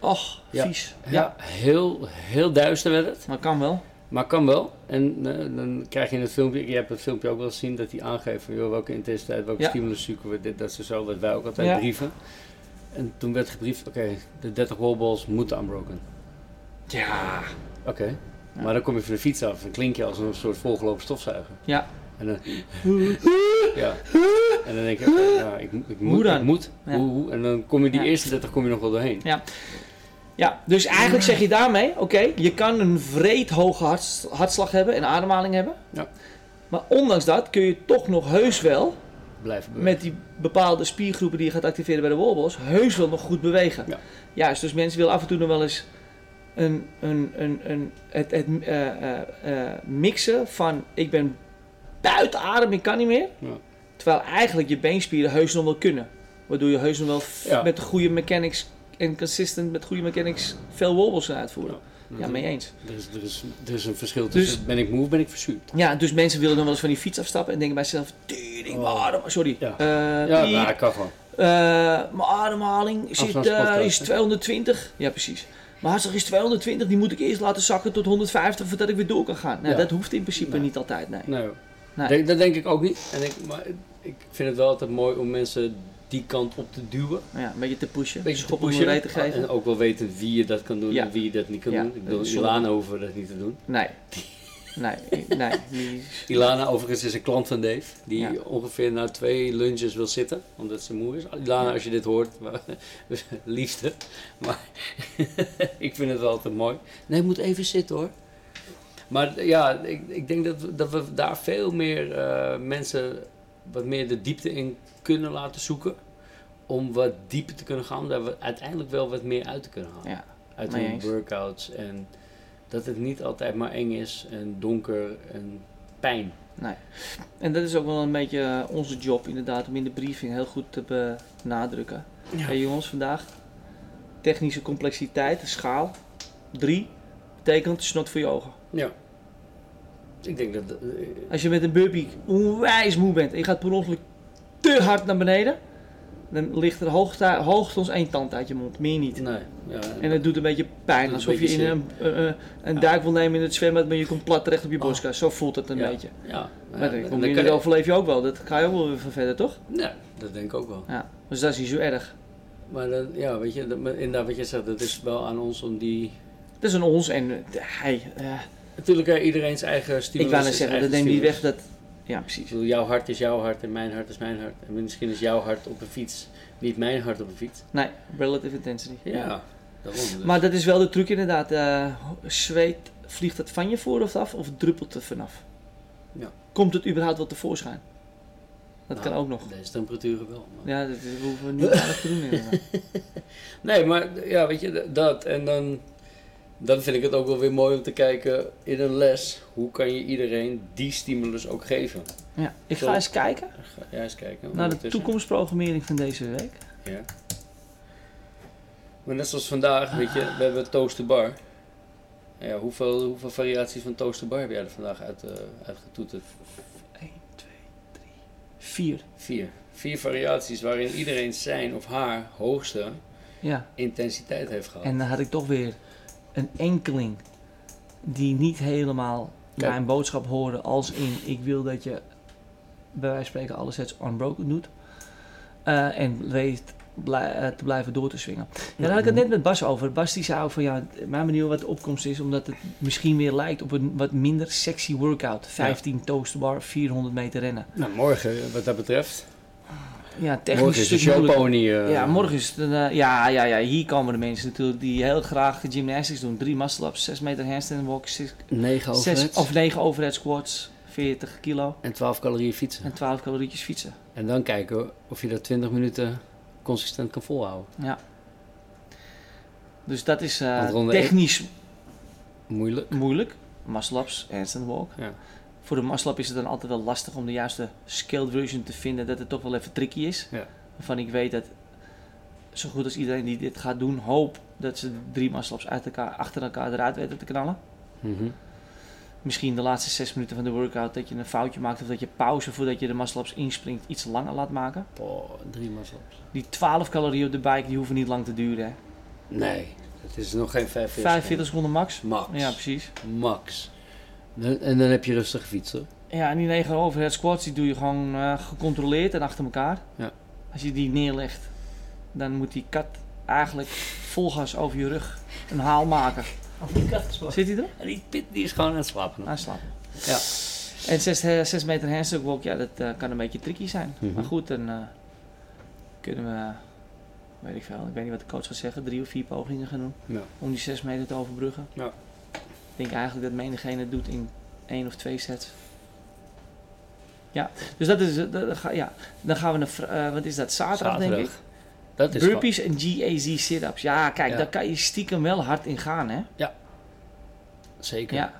Speaker 1: Och,
Speaker 2: Ja.
Speaker 1: vies. Ja.
Speaker 2: Heel, heel duister werd het.
Speaker 1: Maar kan wel.
Speaker 2: Maar kan wel. En eh, dan krijg je in het filmpje, je hebt het filmpje ook wel gezien, dat hij aangeeft van joh, welke intensiteit, welke
Speaker 1: Ja.
Speaker 2: stimulus zoeken we, dit, dat, ze zo, wat wij ook altijd
Speaker 1: Ja.
Speaker 2: brieven. En toen werd gebriefd, oké, de 30 wallballs moeten unbroken.
Speaker 1: Ja.
Speaker 2: Oké. Maar dan kom je van de fiets af en klink je als een soort volgelopen stofzuiger.
Speaker 1: Ja.
Speaker 2: En dan, ja. En dan denk je, oké, nou, ik, ik moet,
Speaker 1: Hoe dan?
Speaker 2: ik moet.
Speaker 1: Ja.
Speaker 2: Hoe, hoe? En dan kom je die
Speaker 1: Ja.
Speaker 2: eerste 30 kom je nog wel doorheen.
Speaker 1: Ja, dus eigenlijk zeg je daarmee, oké, je kan een vreed hoge harts- hartslag hebben en ademhaling hebben.
Speaker 2: Ja.
Speaker 1: Maar ondanks dat kun je toch nog heus wel
Speaker 2: Blijf
Speaker 1: met die bepaalde spiergroepen die je gaat activeren bij de wallballs, heus wel nog goed bewegen.
Speaker 2: Ja.
Speaker 1: Juist, dus mensen willen af en toe nog wel eens een, een, een, een, het, het eh, eh, eh, mixen van ik ben buiten adem, ik kan niet meer.
Speaker 2: Ja.
Speaker 1: Terwijl eigenlijk je beenspieren heus nog wel kunnen. Waardoor je heus nog wel f-
Speaker 2: Ja.
Speaker 1: met goede mechanics en consistent met goede mechanics veel wobbles kan uitvoeren. Ja,
Speaker 2: Dat-
Speaker 1: mee eens.
Speaker 2: er, is, er, is, er is een verschil
Speaker 1: Dus-
Speaker 2: tussen ben ik moe of ben ik verzuurd.
Speaker 1: Ja, dus mensen willen dan wel eens van die fiets afstappen en denken bij zichzelf, tering, waarom? Sorry.
Speaker 2: Oh. Ja.
Speaker 1: Eh,
Speaker 2: Ja,
Speaker 1: piep,
Speaker 2: nou, dat kan gewoon.
Speaker 1: Eh, mijn ademhaling zit,
Speaker 2: Afstandspodcast,
Speaker 1: eh, is
Speaker 2: hè?
Speaker 1: 220. Ja, precies. Mijn hartslag is 220, die moet ik eerst laten zakken tot 150 voordat ik weer door kan gaan. Nou,
Speaker 2: Ja.
Speaker 1: dat hoeft in principe
Speaker 2: Nee.
Speaker 1: niet altijd, nee.
Speaker 2: Nee.
Speaker 1: Nee.
Speaker 2: Nou, Denk- dat denk ik ook niet. En ik, maar ik vind het wel altijd mooi om mensen die kant op te duwen.
Speaker 1: Maar ja, een beetje te pushen,
Speaker 2: Een beetje
Speaker 1: schop
Speaker 2: te
Speaker 1: om
Speaker 2: pushen. Oh,
Speaker 1: een reet te geven.
Speaker 2: En ook wel weten wie je dat kan doen
Speaker 1: Ja.
Speaker 2: en wie je dat niet kan
Speaker 1: Ja,
Speaker 2: doen. Ik
Speaker 1: dat
Speaker 2: bedoel,
Speaker 1: is zonde.
Speaker 2: Ilana hoeven dat niet te doen.
Speaker 1: Nee. Nee, nee. die-
Speaker 2: Ilana overigens is een klant van Dave. Die
Speaker 1: Ja.
Speaker 2: ongeveer na twee lunches wil zitten. Omdat ze moe is. Ilana, als je dit hoort. [laughs] liefde. Dus, Maar [laughs] ik vind het wel altijd mooi. Nee, moet even zitten hoor. Maar ja, ik, ik denk dat, we- dat we daar veel meer eh, mensen wat meer de diepte in kunnen laten zoeken. Om wat dieper te kunnen gaan. Om daar wat- uiteindelijk wel wat meer uit te kunnen halen.
Speaker 1: Ja,
Speaker 2: uit
Speaker 1: mee
Speaker 2: hun
Speaker 1: eens.
Speaker 2: workouts. En dat het niet altijd maar eng is en donker en pijn.
Speaker 1: nee. En dat is ook wel een beetje eh, onze job inderdaad, om in de briefing heel goed te benadrukken.
Speaker 2: Ja.
Speaker 1: Hey jongens, vandaag technische complexiteit, de schaal 3, betekent snot voor je ogen.
Speaker 2: Ja. Ik denk dat. eh,
Speaker 1: Als je met een burpee onwijs moe bent en je gaat per ongeluk te hard naar beneden, dan ligt er hoogta- hoogstens één tand uit je mond, meer niet.
Speaker 2: nee. Ja,
Speaker 1: En het doet een beetje pijn,
Speaker 2: Doet een
Speaker 1: alsof je
Speaker 2: beetje
Speaker 1: in een, eh, eh, een duik wil nemen in het zwembad, maar je komt plat terecht op je borstkas. Zo voelt het een
Speaker 2: Oh. Ja.
Speaker 1: beetje.
Speaker 2: ja.
Speaker 1: Maar dan,
Speaker 2: en
Speaker 1: kom
Speaker 2: dan
Speaker 1: je
Speaker 2: kan
Speaker 1: dat overleef je ook wel, dat ga je ook wel weer van verder, toch?
Speaker 2: Nee, dat denk ik ook wel.
Speaker 1: Ja, dus dat is niet zo erg.
Speaker 2: Maar dat, ja, weet je, dat, maar inderdaad, wat je zegt, dat is wel aan ons om die.
Speaker 1: Dat is een ons en eh, hij. eh,
Speaker 2: Natuurlijk, eh, iedereen zijn eigen
Speaker 1: ik
Speaker 2: stimulus.
Speaker 1: wou
Speaker 2: is
Speaker 1: net zeggen,
Speaker 2: eigen
Speaker 1: dat neemt niet
Speaker 2: stimulus.
Speaker 1: weg dat. Ja,
Speaker 2: Ik
Speaker 1: precies.
Speaker 2: bedoel, jouw hart is jouw hart en mijn hart is mijn hart. En misschien is jouw hart op een fiets niet mijn hart op een fiets.
Speaker 1: Nee, relative intensity.
Speaker 2: Ja, daarom. Dus.
Speaker 1: Maar dat is wel de truc inderdaad. eh, zweet, vliegt het van je voorhoofd af of druppelt het vanaf?
Speaker 2: Ja.
Speaker 1: Komt het überhaupt wel tevoorschijn? Dat
Speaker 2: Nou,
Speaker 1: kan ook nog.
Speaker 2: Deze temperaturen wel. maar-
Speaker 1: Ja, dat dat hoeven we
Speaker 2: [laughs]
Speaker 1: niet aardig te doen inderdaad.
Speaker 2: Nee, maar ja, weet je, d- dat. En dan, dan vind ik het ook wel weer mooi om te kijken in een les. Hoe kan je iedereen die stimulus ook geven?
Speaker 1: Ja, ik
Speaker 2: Zo.
Speaker 1: ga eens kijken
Speaker 2: Ga jij eens kijken.
Speaker 1: naar Nou, de
Speaker 2: ondertussen.
Speaker 1: toekomstprogrammering van deze week.
Speaker 2: Ja. Maar net zoals vandaag, weet je, we hebben toast to bar. Ja, hoeveel, hoeveel variaties van toast to bar heb jij er vandaag uit, eh uitgetoeterd?
Speaker 1: 1, 2, 3, 4.
Speaker 2: Vier. Vier variaties waarin iedereen zijn of haar hoogste
Speaker 1: Ja,
Speaker 2: intensiteit heeft gehad.
Speaker 1: en dan had ik toch weer een enkeling die niet helemaal
Speaker 2: Kijk.
Speaker 1: mijn boodschap hoorde als in ik wil dat je bij wijze van spreken alle sets unbroken doet. Eh, en weet blij- eh, te blijven door te swingen. Ja, daar had ik
Speaker 2: Mhm.
Speaker 1: het net met Bas over. Bas die zei ook van ja, mijn manier wat de opkomst is, omdat het misschien weer lijkt op een wat minder sexy workout. 15 toast bar, 400 meter rennen.
Speaker 2: Nou, morgen, wat dat betreft.
Speaker 1: Ja, technisch
Speaker 2: morgen
Speaker 1: een
Speaker 2: is de
Speaker 1: stuk moeilijker.
Speaker 2: showpony. eh,
Speaker 1: Ja, morgen is het een, eh, ja, ja, ja, hier komen de mensen natuurlijk die heel graag gymnastics doen. Drie muscle-ups, 6 meter handstand walks,
Speaker 2: 9
Speaker 1: zes
Speaker 2: overheads
Speaker 1: of 9 overhead squats, 40 kilo
Speaker 2: en 12 calorieën fietsen.
Speaker 1: en 12 calorietjes fietsen.
Speaker 2: En dan kijken of je dat 20 minuten consistent kan volhouden.
Speaker 1: Ja. Dus dat is eh,
Speaker 2: Want ronde één-
Speaker 1: technisch
Speaker 2: Moeilijk.
Speaker 1: moeilijk, muscle-ups, handstand walk.
Speaker 2: Ja.
Speaker 1: Voor de muscle-up is het dan altijd wel lastig om de juiste scaled version te vinden, dat het toch wel even tricky is.
Speaker 2: Ja.
Speaker 1: Waarvan ik weet dat zo goed als iedereen die dit gaat doen, hoop dat ze drie muscle-ups uit elkaar, achter elkaar eruit weten te knallen.
Speaker 2: Mhm.
Speaker 1: misschien de laatste zes minuten van de workout dat je een foutje maakt of dat je pauze voordat je de muscle-ups inspringt iets langer laat maken.
Speaker 2: Boah, drie muscle-ups.
Speaker 1: Die 12 calorieën op de bike die hoeven niet lang te duren. Hè.
Speaker 2: Nee, het is nog geen 45.
Speaker 1: 45 seconden max.
Speaker 2: Max.
Speaker 1: Ja, precies.
Speaker 2: Max. Dan- En dan heb je rustig gefietst hoor.
Speaker 1: Ja, en die 9 overhead squats die doe je gewoon eh, gecontroleerd en achter elkaar.
Speaker 2: Ja.
Speaker 1: Als je die neerlegt, dan moet die kat eigenlijk vol gas over je rug een haal
Speaker 2: [laughs]
Speaker 1: maken.
Speaker 2: Oh, die kat is
Speaker 1: Zit hij er?
Speaker 2: En die pit die is gewoon aan het slapen.
Speaker 1: Aanslapen.
Speaker 2: Ja.
Speaker 1: En 6 meter handstand walk, ja, dat eh, kan een beetje tricky zijn.
Speaker 2: Mhm.
Speaker 1: Maar goed, dan eh, kunnen we, weet ik veel, ik weet niet wat de coach gaat zeggen, drie of vier pogingen gaan doen
Speaker 2: Ja.
Speaker 1: om die 6 meter te overbruggen.
Speaker 2: Ja.
Speaker 1: Ik denk eigenlijk dat menigeen het doet in één of twee sets. Ja, dus dat is, eh, dat ga- ja. dan gaan we naar, vr- eh, wat is dat, zaterdag, denk ik?
Speaker 2: Dat is gewoon-
Speaker 1: Burpees en GAZ sit-ups. Ja, kijk,
Speaker 2: Ja.
Speaker 1: daar kan je stiekem wel hard in gaan, hè?
Speaker 2: Zeker.
Speaker 1: Ja.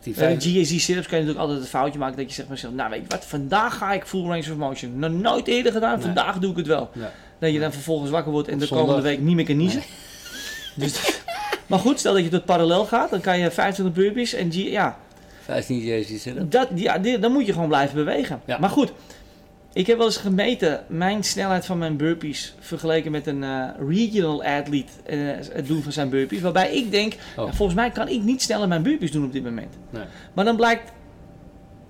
Speaker 2: Die
Speaker 1: Bij
Speaker 2: vijf...
Speaker 1: de GAC sit-ups kan je natuurlijk altijd het foutje maken dat je zeg maar zegt, nou weet je wat, vandaag ga ik full range of motion. Nog nooit eerder gedaan,
Speaker 2: Nee.
Speaker 1: vandaag doe ik het wel.
Speaker 2: Ja.
Speaker 1: Dat je dan vervolgens wakker wordt en
Speaker 2: Op
Speaker 1: de
Speaker 2: zondag.
Speaker 1: komende week niet meer kan niezen. [laughs] Dus, maar goed, stel dat je tot parallel gaat, dan kan je 25 burpees en G, ja,
Speaker 2: 15 JC sit
Speaker 1: dat, ja, dit- dan moet je gewoon blijven bewegen.
Speaker 2: Ja.
Speaker 1: Maar goed, Ik heb wel eens gemeten mijn snelheid van mijn burpees vergeleken met een eh, regional athlete eh, het doen van zijn burpees. Waarbij ik denk, nou, volgens mij kan ik niet sneller mijn burpees doen op dit moment.
Speaker 2: Nee.
Speaker 1: Maar dan blijkt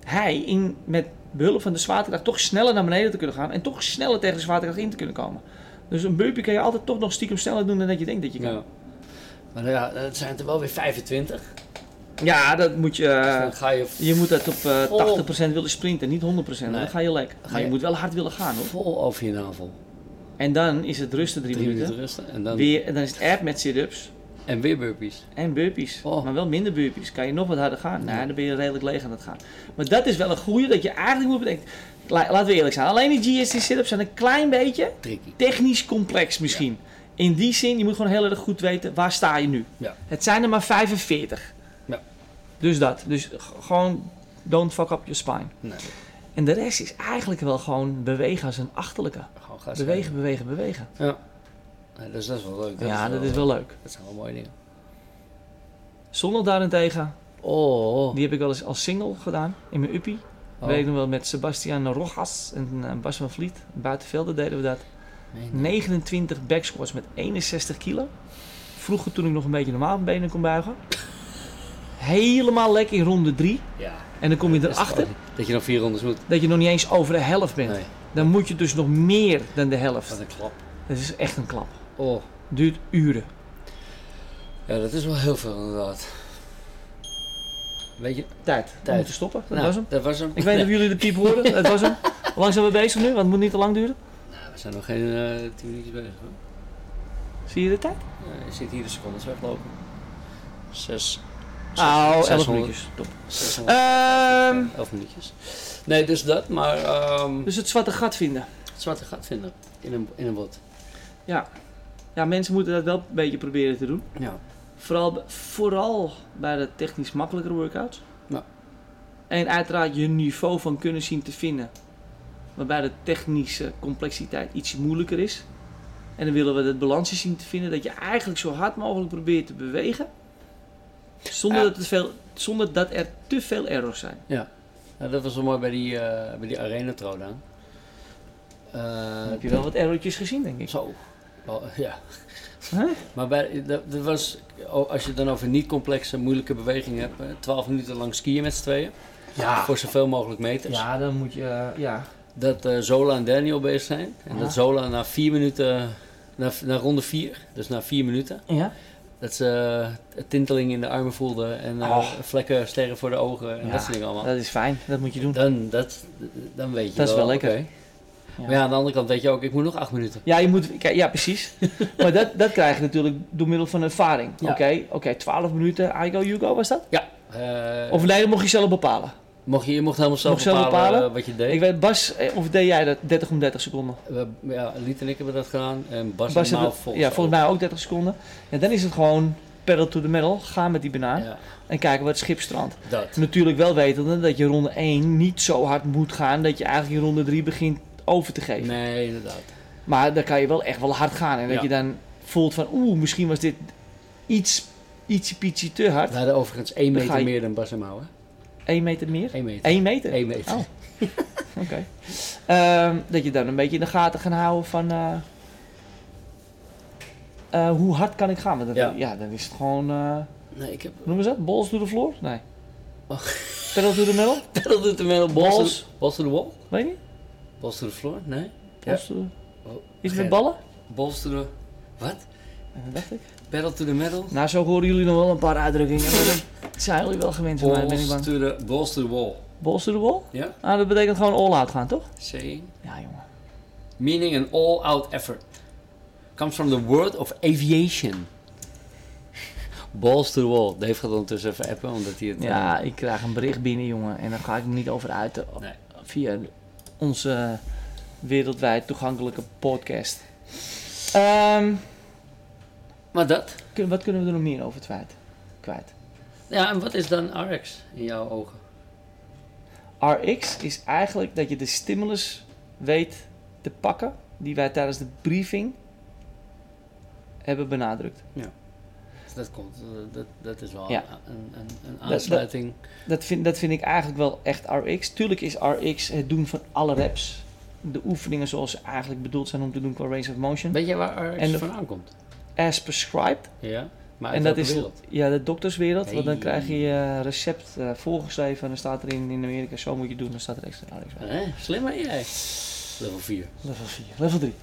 Speaker 1: hij in, met behulp van de zwaartekracht toch sneller naar beneden te kunnen gaan. En toch sneller tegen de zwaartekracht in te kunnen komen. Dus een burpee kan je altijd toch nog stiekem sneller doen dan dat je denkt dat je kan. Ja,
Speaker 2: Ja. Maar ja, het zijn er wel weer 25.
Speaker 1: dat moet je...
Speaker 2: Dus
Speaker 1: eh,
Speaker 2: dan ga je,
Speaker 1: je moet dat op eh,
Speaker 2: Vol.
Speaker 1: 80% willen sprinten, niet 100%.
Speaker 2: Nee.
Speaker 1: Dan ga je lek. Maar je
Speaker 2: Nee.
Speaker 1: moet wel hard willen gaan hoor.
Speaker 2: vol over je navel.
Speaker 1: En dan is het rusten drie,
Speaker 2: Drie minuten
Speaker 1: minuten.
Speaker 2: rusten en dan
Speaker 1: Weer, en dan is het app met sit-ups
Speaker 2: en weer burpees.
Speaker 1: en burpees.
Speaker 2: Oh.
Speaker 1: Maar wel minder burpees. Kan je nog wat harder gaan? Nou,
Speaker 2: Ja.
Speaker 1: dan ben je redelijk leeg aan het gaan. Maar dat is wel een goede dat je eigenlijk moet bedenken. La- laten we eerlijk zijn. Alleen die GST sit-ups zijn een klein beetje
Speaker 2: Tricky.
Speaker 1: technisch complex misschien. In die zin, je moet gewoon heel erg goed weten waar sta je nu.
Speaker 2: Ja.
Speaker 1: Het zijn er maar 45.
Speaker 2: Ja.
Speaker 1: Dus dat. Dus g- gewoon don't fuck up your spine.
Speaker 2: Nee,
Speaker 1: En de rest is eigenlijk wel gewoon bewegen als een achterlijke.
Speaker 2: gewoon gas
Speaker 1: Bewegen, bewegen, bewegen.
Speaker 2: geven. Ja. Nee, dus dat is wel leuk.
Speaker 1: ja, dat is wel leuk.
Speaker 2: Dat zijn wel mooie dingen.
Speaker 1: Zondag daarentegen,
Speaker 2: Oh, oh.
Speaker 1: die heb ik wel eens als single gedaan in mijn uppie.
Speaker 2: Oh,
Speaker 1: Weet ik nog wel met Sebastian Rojas en eh, Bas van Vliet. Buitenvelden deden we dat.
Speaker 2: meen je?
Speaker 1: 29 back squats met 61 kilo. Vroeger toen ik nog een beetje normaal mijn benen kon buigen. Helemaal lekker in ronde 3.
Speaker 2: Ja.
Speaker 1: En dan kom je
Speaker 2: Dat is
Speaker 1: erachter
Speaker 2: gewoon- Dat je nog vier rondes moet.
Speaker 1: dat je nog niet eens over de helft bent.
Speaker 2: Nee,
Speaker 1: Dan moet je dus nog meer dan de helft.
Speaker 2: wat een klap.
Speaker 1: Dat is echt een klap.
Speaker 2: Oh.
Speaker 1: Duurt uren.
Speaker 2: Ja, dat is wel heel veel inderdaad. Weet je?
Speaker 1: Tijd. Om
Speaker 2: Tijd.
Speaker 1: te stoppen. Dat
Speaker 2: nou,
Speaker 1: was hem.
Speaker 2: Dat was hem.
Speaker 1: Ik weet niet of
Speaker 2: Nee.
Speaker 1: jullie de piep horen. Dat was hem. Hoe lang zijn we bezig nu? Want het moet niet te lang duren.
Speaker 2: We zijn nog geen eh, tien minuutjes bezig hoor.
Speaker 1: Zie je de tijd?
Speaker 2: Eh, je zit hier de secondes weglopen. Zes.
Speaker 1: Oh, 11
Speaker 2: 600.
Speaker 1: minuutjes. Top.
Speaker 2: zes honderd-
Speaker 1: Ehm,
Speaker 2: ja, elf minuutjes. Nee, dus dat, maar ehm
Speaker 1: dus het zwarte gat vinden.
Speaker 2: het zwarte gat vinden in een, in een bot.
Speaker 1: Ja, mensen moeten dat wel een beetje proberen te doen.
Speaker 2: Ja.
Speaker 1: Vooral, b- vooral bij de technisch makkelijkere workouts.
Speaker 2: Ja.
Speaker 1: En uiteraard je niveau van kunnen zien te vinden. Waarbij de technische complexiteit iets moeilijker is. En dan willen we dat balansje zien te vinden dat je eigenlijk zo hard mogelijk probeert te bewegen. Zonder,
Speaker 2: Ja.
Speaker 1: dat, het veel, zonder dat er te veel errors zijn.
Speaker 2: Nou, dat was wel mooi bij die, eh, bij die arena trouwdaan. Eh,
Speaker 1: Dan heb je wel wat errortjes gezien, denk ik.
Speaker 2: Zo. Wel, ja.
Speaker 1: Hè?
Speaker 2: Maar bij, dat, dat was, oh, als je het dan over niet complexe, moeilijke bewegingen hebt, eh, 12 minuten lang skiën met z'n tweeën.
Speaker 1: Ja.
Speaker 2: Voor zoveel mogelijk meters.
Speaker 1: Ah. Ja, dan moet je. eh, Ja.
Speaker 2: Dat eh, Zola en Daniel bezig zijn. En
Speaker 1: Ja.
Speaker 2: dat Zola na 4 minuten, na, na ronde 4, dus na 4 minuten,
Speaker 1: Ja.
Speaker 2: dat ze eh, tinteling in de armen voelde en eh,
Speaker 1: Oh.
Speaker 2: vlekken, sterren voor de ogen en
Speaker 1: Ja.
Speaker 2: dat soort dingen allemaal.
Speaker 1: Dat is fijn, dat moet je doen.
Speaker 2: Dan, dat, dan weet je
Speaker 1: Dat is wel lekker.
Speaker 2: oké.
Speaker 1: Ja.
Speaker 2: Maar ja, aan de andere kant weet je ook, ik moet nog 8 minuten.
Speaker 1: Ja, je moet, kijk, ja precies. maar dat, dat krijg je natuurlijk door middel van ervaring. Oké,
Speaker 2: Ja.
Speaker 1: oké, 12 minuten, I go, you go, was dat?
Speaker 2: Ja. eh,
Speaker 1: Of nee, dat mocht je zelf bepalen.
Speaker 2: mocht je, je mocht helemaal zelf
Speaker 1: Mocht zelf
Speaker 2: bepalen,
Speaker 1: bepalen?
Speaker 2: eh, wat je deed.
Speaker 1: Ik weet, Bas, eh, of deed jij dat 30 om 30 seconden?
Speaker 2: We, ja, Liet en ik hebben dat gedaan. En Bas,
Speaker 1: Bas
Speaker 2: en Maal
Speaker 1: heeft het- ja, volgens mij ook 30 seconden. Ja, dan is het gewoon pedal to the metal, ga met die banaan
Speaker 2: Ja,
Speaker 1: en kijken wat het schip strandt.
Speaker 2: dat.
Speaker 1: Natuurlijk wel wetende dat je ronde 1 niet zo hard moet gaan dat je eigenlijk in ronde 3 begint over te geven.
Speaker 2: Nee, inderdaad.
Speaker 1: Maar dan kan je wel echt wel hard gaan en dat
Speaker 2: Ja.
Speaker 1: je dan voelt van oeh, misschien was dit iets, ietsje pietje te hard.
Speaker 2: We hadden overigens 1
Speaker 1: Dan
Speaker 2: meter
Speaker 1: ga je-
Speaker 2: meer dan Bas en Maal, hè?
Speaker 1: 1 meter meer?
Speaker 2: 1 meter.
Speaker 1: 1 meter?
Speaker 2: 1 meter.
Speaker 1: Oh. Oké. Ehm, dat je dan een beetje in de gaten gaat houden van... eh, eh, hoe hard kan ik gaan? Want dat, ja.
Speaker 2: Ja.
Speaker 1: dan is het gewoon... eh, hoe
Speaker 2: Nee, ik heb...
Speaker 1: [laughs] noemen ze dat? Balls door de vloer? Nee.
Speaker 2: Oh.
Speaker 1: Pedal to the metal?
Speaker 2: Dat doet hem wel.
Speaker 1: Balls.
Speaker 2: Balls. Balls to the wall?
Speaker 1: Weet je niet?
Speaker 2: Balls to the floor? Nee.
Speaker 1: Balls to
Speaker 2: Oh,
Speaker 1: Iets
Speaker 2: geen-
Speaker 1: met ballen?
Speaker 2: Balls to the... Wat?
Speaker 1: En dat dacht ik.
Speaker 2: Battle to the metal?
Speaker 1: Nou, zo horen jullie nog wel een paar uitdrukkingen. Maar dat zijn jullie wel gewend van mij, ben ik
Speaker 2: Balls
Speaker 1: bang.
Speaker 2: to the... Balls to the wall.
Speaker 1: Balls to the wall?
Speaker 2: Ja?
Speaker 1: Ah, dat betekent gewoon all-out gaan, toch?
Speaker 2: Saying.
Speaker 1: Ja, jongen.
Speaker 2: Meaning an all-out effort. Comes from the word of aviation. [laughs] Balls to the wall. Dave gaat ondertussen even appen, omdat hij het... eh,
Speaker 1: Ja, ik krijg een bericht binnen, jongen. En daar ga ik me niet over uiten.
Speaker 2: Nee.
Speaker 1: Via onze wereldwijd toegankelijke podcast. Ehm,
Speaker 2: Maar dat...
Speaker 1: kun- wat kunnen we er nog meer over kwijt? kwijt?
Speaker 2: Ja, en wat is dan RX in jouw ogen?
Speaker 1: RX is eigenlijk dat je de stimulus weet te pakken die wij tijdens de briefing hebben benadrukt.
Speaker 2: Dat komt, eh, dat, dat is wel
Speaker 1: Ja.
Speaker 2: een, een, een
Speaker 1: dat-
Speaker 2: aansluiting.
Speaker 1: Dat vind, dat vind ik eigenlijk wel echt RX. Tuurlijk is RX het doen van alle reps. de oefeningen zoals ze eigenlijk bedoeld zijn om te doen qua range of motion.
Speaker 2: Weet je waar Arts
Speaker 1: En de-
Speaker 2: vandaan komt?
Speaker 1: As prescribed.
Speaker 2: Ja, maar
Speaker 1: En
Speaker 2: uit
Speaker 1: dat
Speaker 2: welke
Speaker 1: is
Speaker 2: wereld?
Speaker 1: ja, de dokterswereld. Want dan
Speaker 2: Hey.
Speaker 1: krijg je je recept eh, voorgeschreven en dan staat erin in Amerika zo moet je doen. Dan staat er extra RX bij.
Speaker 2: Hè? Slimmer jij. Level 4.
Speaker 1: Level 4, level 3.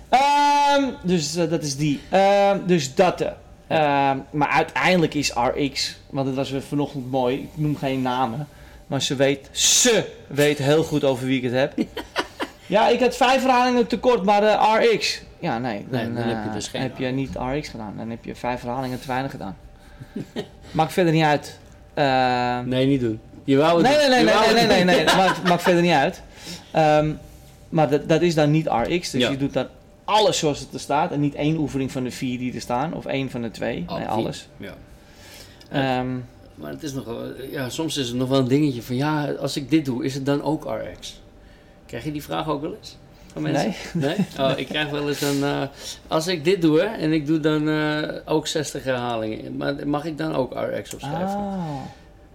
Speaker 1: dus eh, dat is die. Ehm, dus dat. eh. Ehm, maar uiteindelijk is RX, want het was weer vanochtend mooi, ik noem geen namen. Maar ze weet, ze weet heel goed over wie ik het heb. ja, ik had vijf herhalingen tekort, maar eh, RX. Ja, nee. Dan,
Speaker 2: Nee, dan heb je
Speaker 1: eh,
Speaker 2: dus geen
Speaker 1: heb je niet RX gedaan. Dan heb je vijf herhalingen te weinig gedaan. Maakt verder niet uit. Ehm,
Speaker 2: Nee, niet doen. Je wou het
Speaker 1: Nee, nee,
Speaker 2: doen.
Speaker 1: nee,
Speaker 2: Je
Speaker 1: nee,
Speaker 2: Oh, wou
Speaker 1: nee,
Speaker 2: het
Speaker 1: nee,
Speaker 2: doen.
Speaker 1: nee, nee.
Speaker 2: [laughs]
Speaker 1: Maakt, maakt verder niet uit. Ehm, maar dat, dat is dan niet RX, dus
Speaker 2: Ja.
Speaker 1: je doet dan alles zoals het er staat en niet één oefening van de vier die er staan of één van de twee.
Speaker 2: Oh,
Speaker 1: nee,
Speaker 2: vier.
Speaker 1: alles.
Speaker 2: Ja.
Speaker 1: Ehm,
Speaker 2: Maar het is nog wel, ja, soms is het nog wel een dingetje van ja, als ik dit doe, is het dan ook RX? Krijg je die vraag ook wel eens? Van mensen?
Speaker 1: nee.
Speaker 2: Nee? Oh, ik krijg wel eens een, eh, als ik dit doe hè, en ik doe dan eh, ook 60 herhalingen, maar mag ik dan ook RX opschrijven?
Speaker 1: Ah.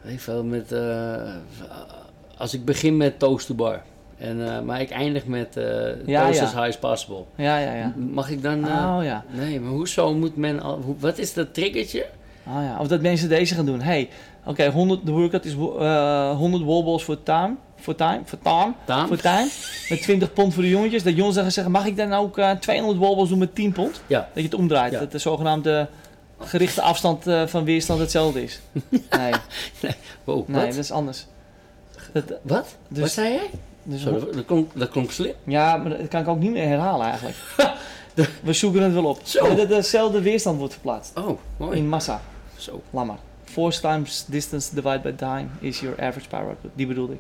Speaker 2: Weet ik veel, met, eh, als ik begin met toast to bar, en, eh, maar ik eindig met eh,
Speaker 1: Ja,
Speaker 2: toast
Speaker 1: ja.
Speaker 2: as high as possible,
Speaker 1: Ja, ja, ja.
Speaker 2: M- mag ik dan... eh,
Speaker 1: Oh ja.
Speaker 2: Nee, maar hoezo moet men al... hoe- wat is dat triggertje?
Speaker 1: oh ja. Of dat mensen deze gaan doen. Hey, oké, 100, de workout is wo- eh 100 wallballs voor time. Voor time, voor time,
Speaker 2: Daan?
Speaker 1: voor time. Met 20 pond voor de jongetjes. Dat jongens dan gaan zeggen, mag ik dan ook eh, 200 wallballs doen met 10 pond?
Speaker 2: Ja.
Speaker 1: Dat je het omdraait.
Speaker 2: Ja.
Speaker 1: Dat de zogenaamde gerichte afstand eh, van weerstand
Speaker 2: [laughs]
Speaker 1: hetzelfde is. Nee,
Speaker 2: Wow,
Speaker 1: nee
Speaker 2: Oh, wat?
Speaker 1: dat is anders. Dat, eh,
Speaker 2: Wat?
Speaker 1: Dus-
Speaker 2: wat zei jij?
Speaker 1: dus
Speaker 2: Zo, dat, dat klonk, dat klonk slim.
Speaker 1: ja, maar dat kan ik ook niet meer herhalen
Speaker 2: [laughs]
Speaker 1: eigenlijk. We zoeken het wel op.
Speaker 2: Zo.
Speaker 1: Dat dezelfde weerstand wordt verplaatst.
Speaker 2: Oh, mooi.
Speaker 1: In massa.
Speaker 2: Zo.
Speaker 1: Laat maar. Force times distance divided by time is your average power output. Die bedoelde ik.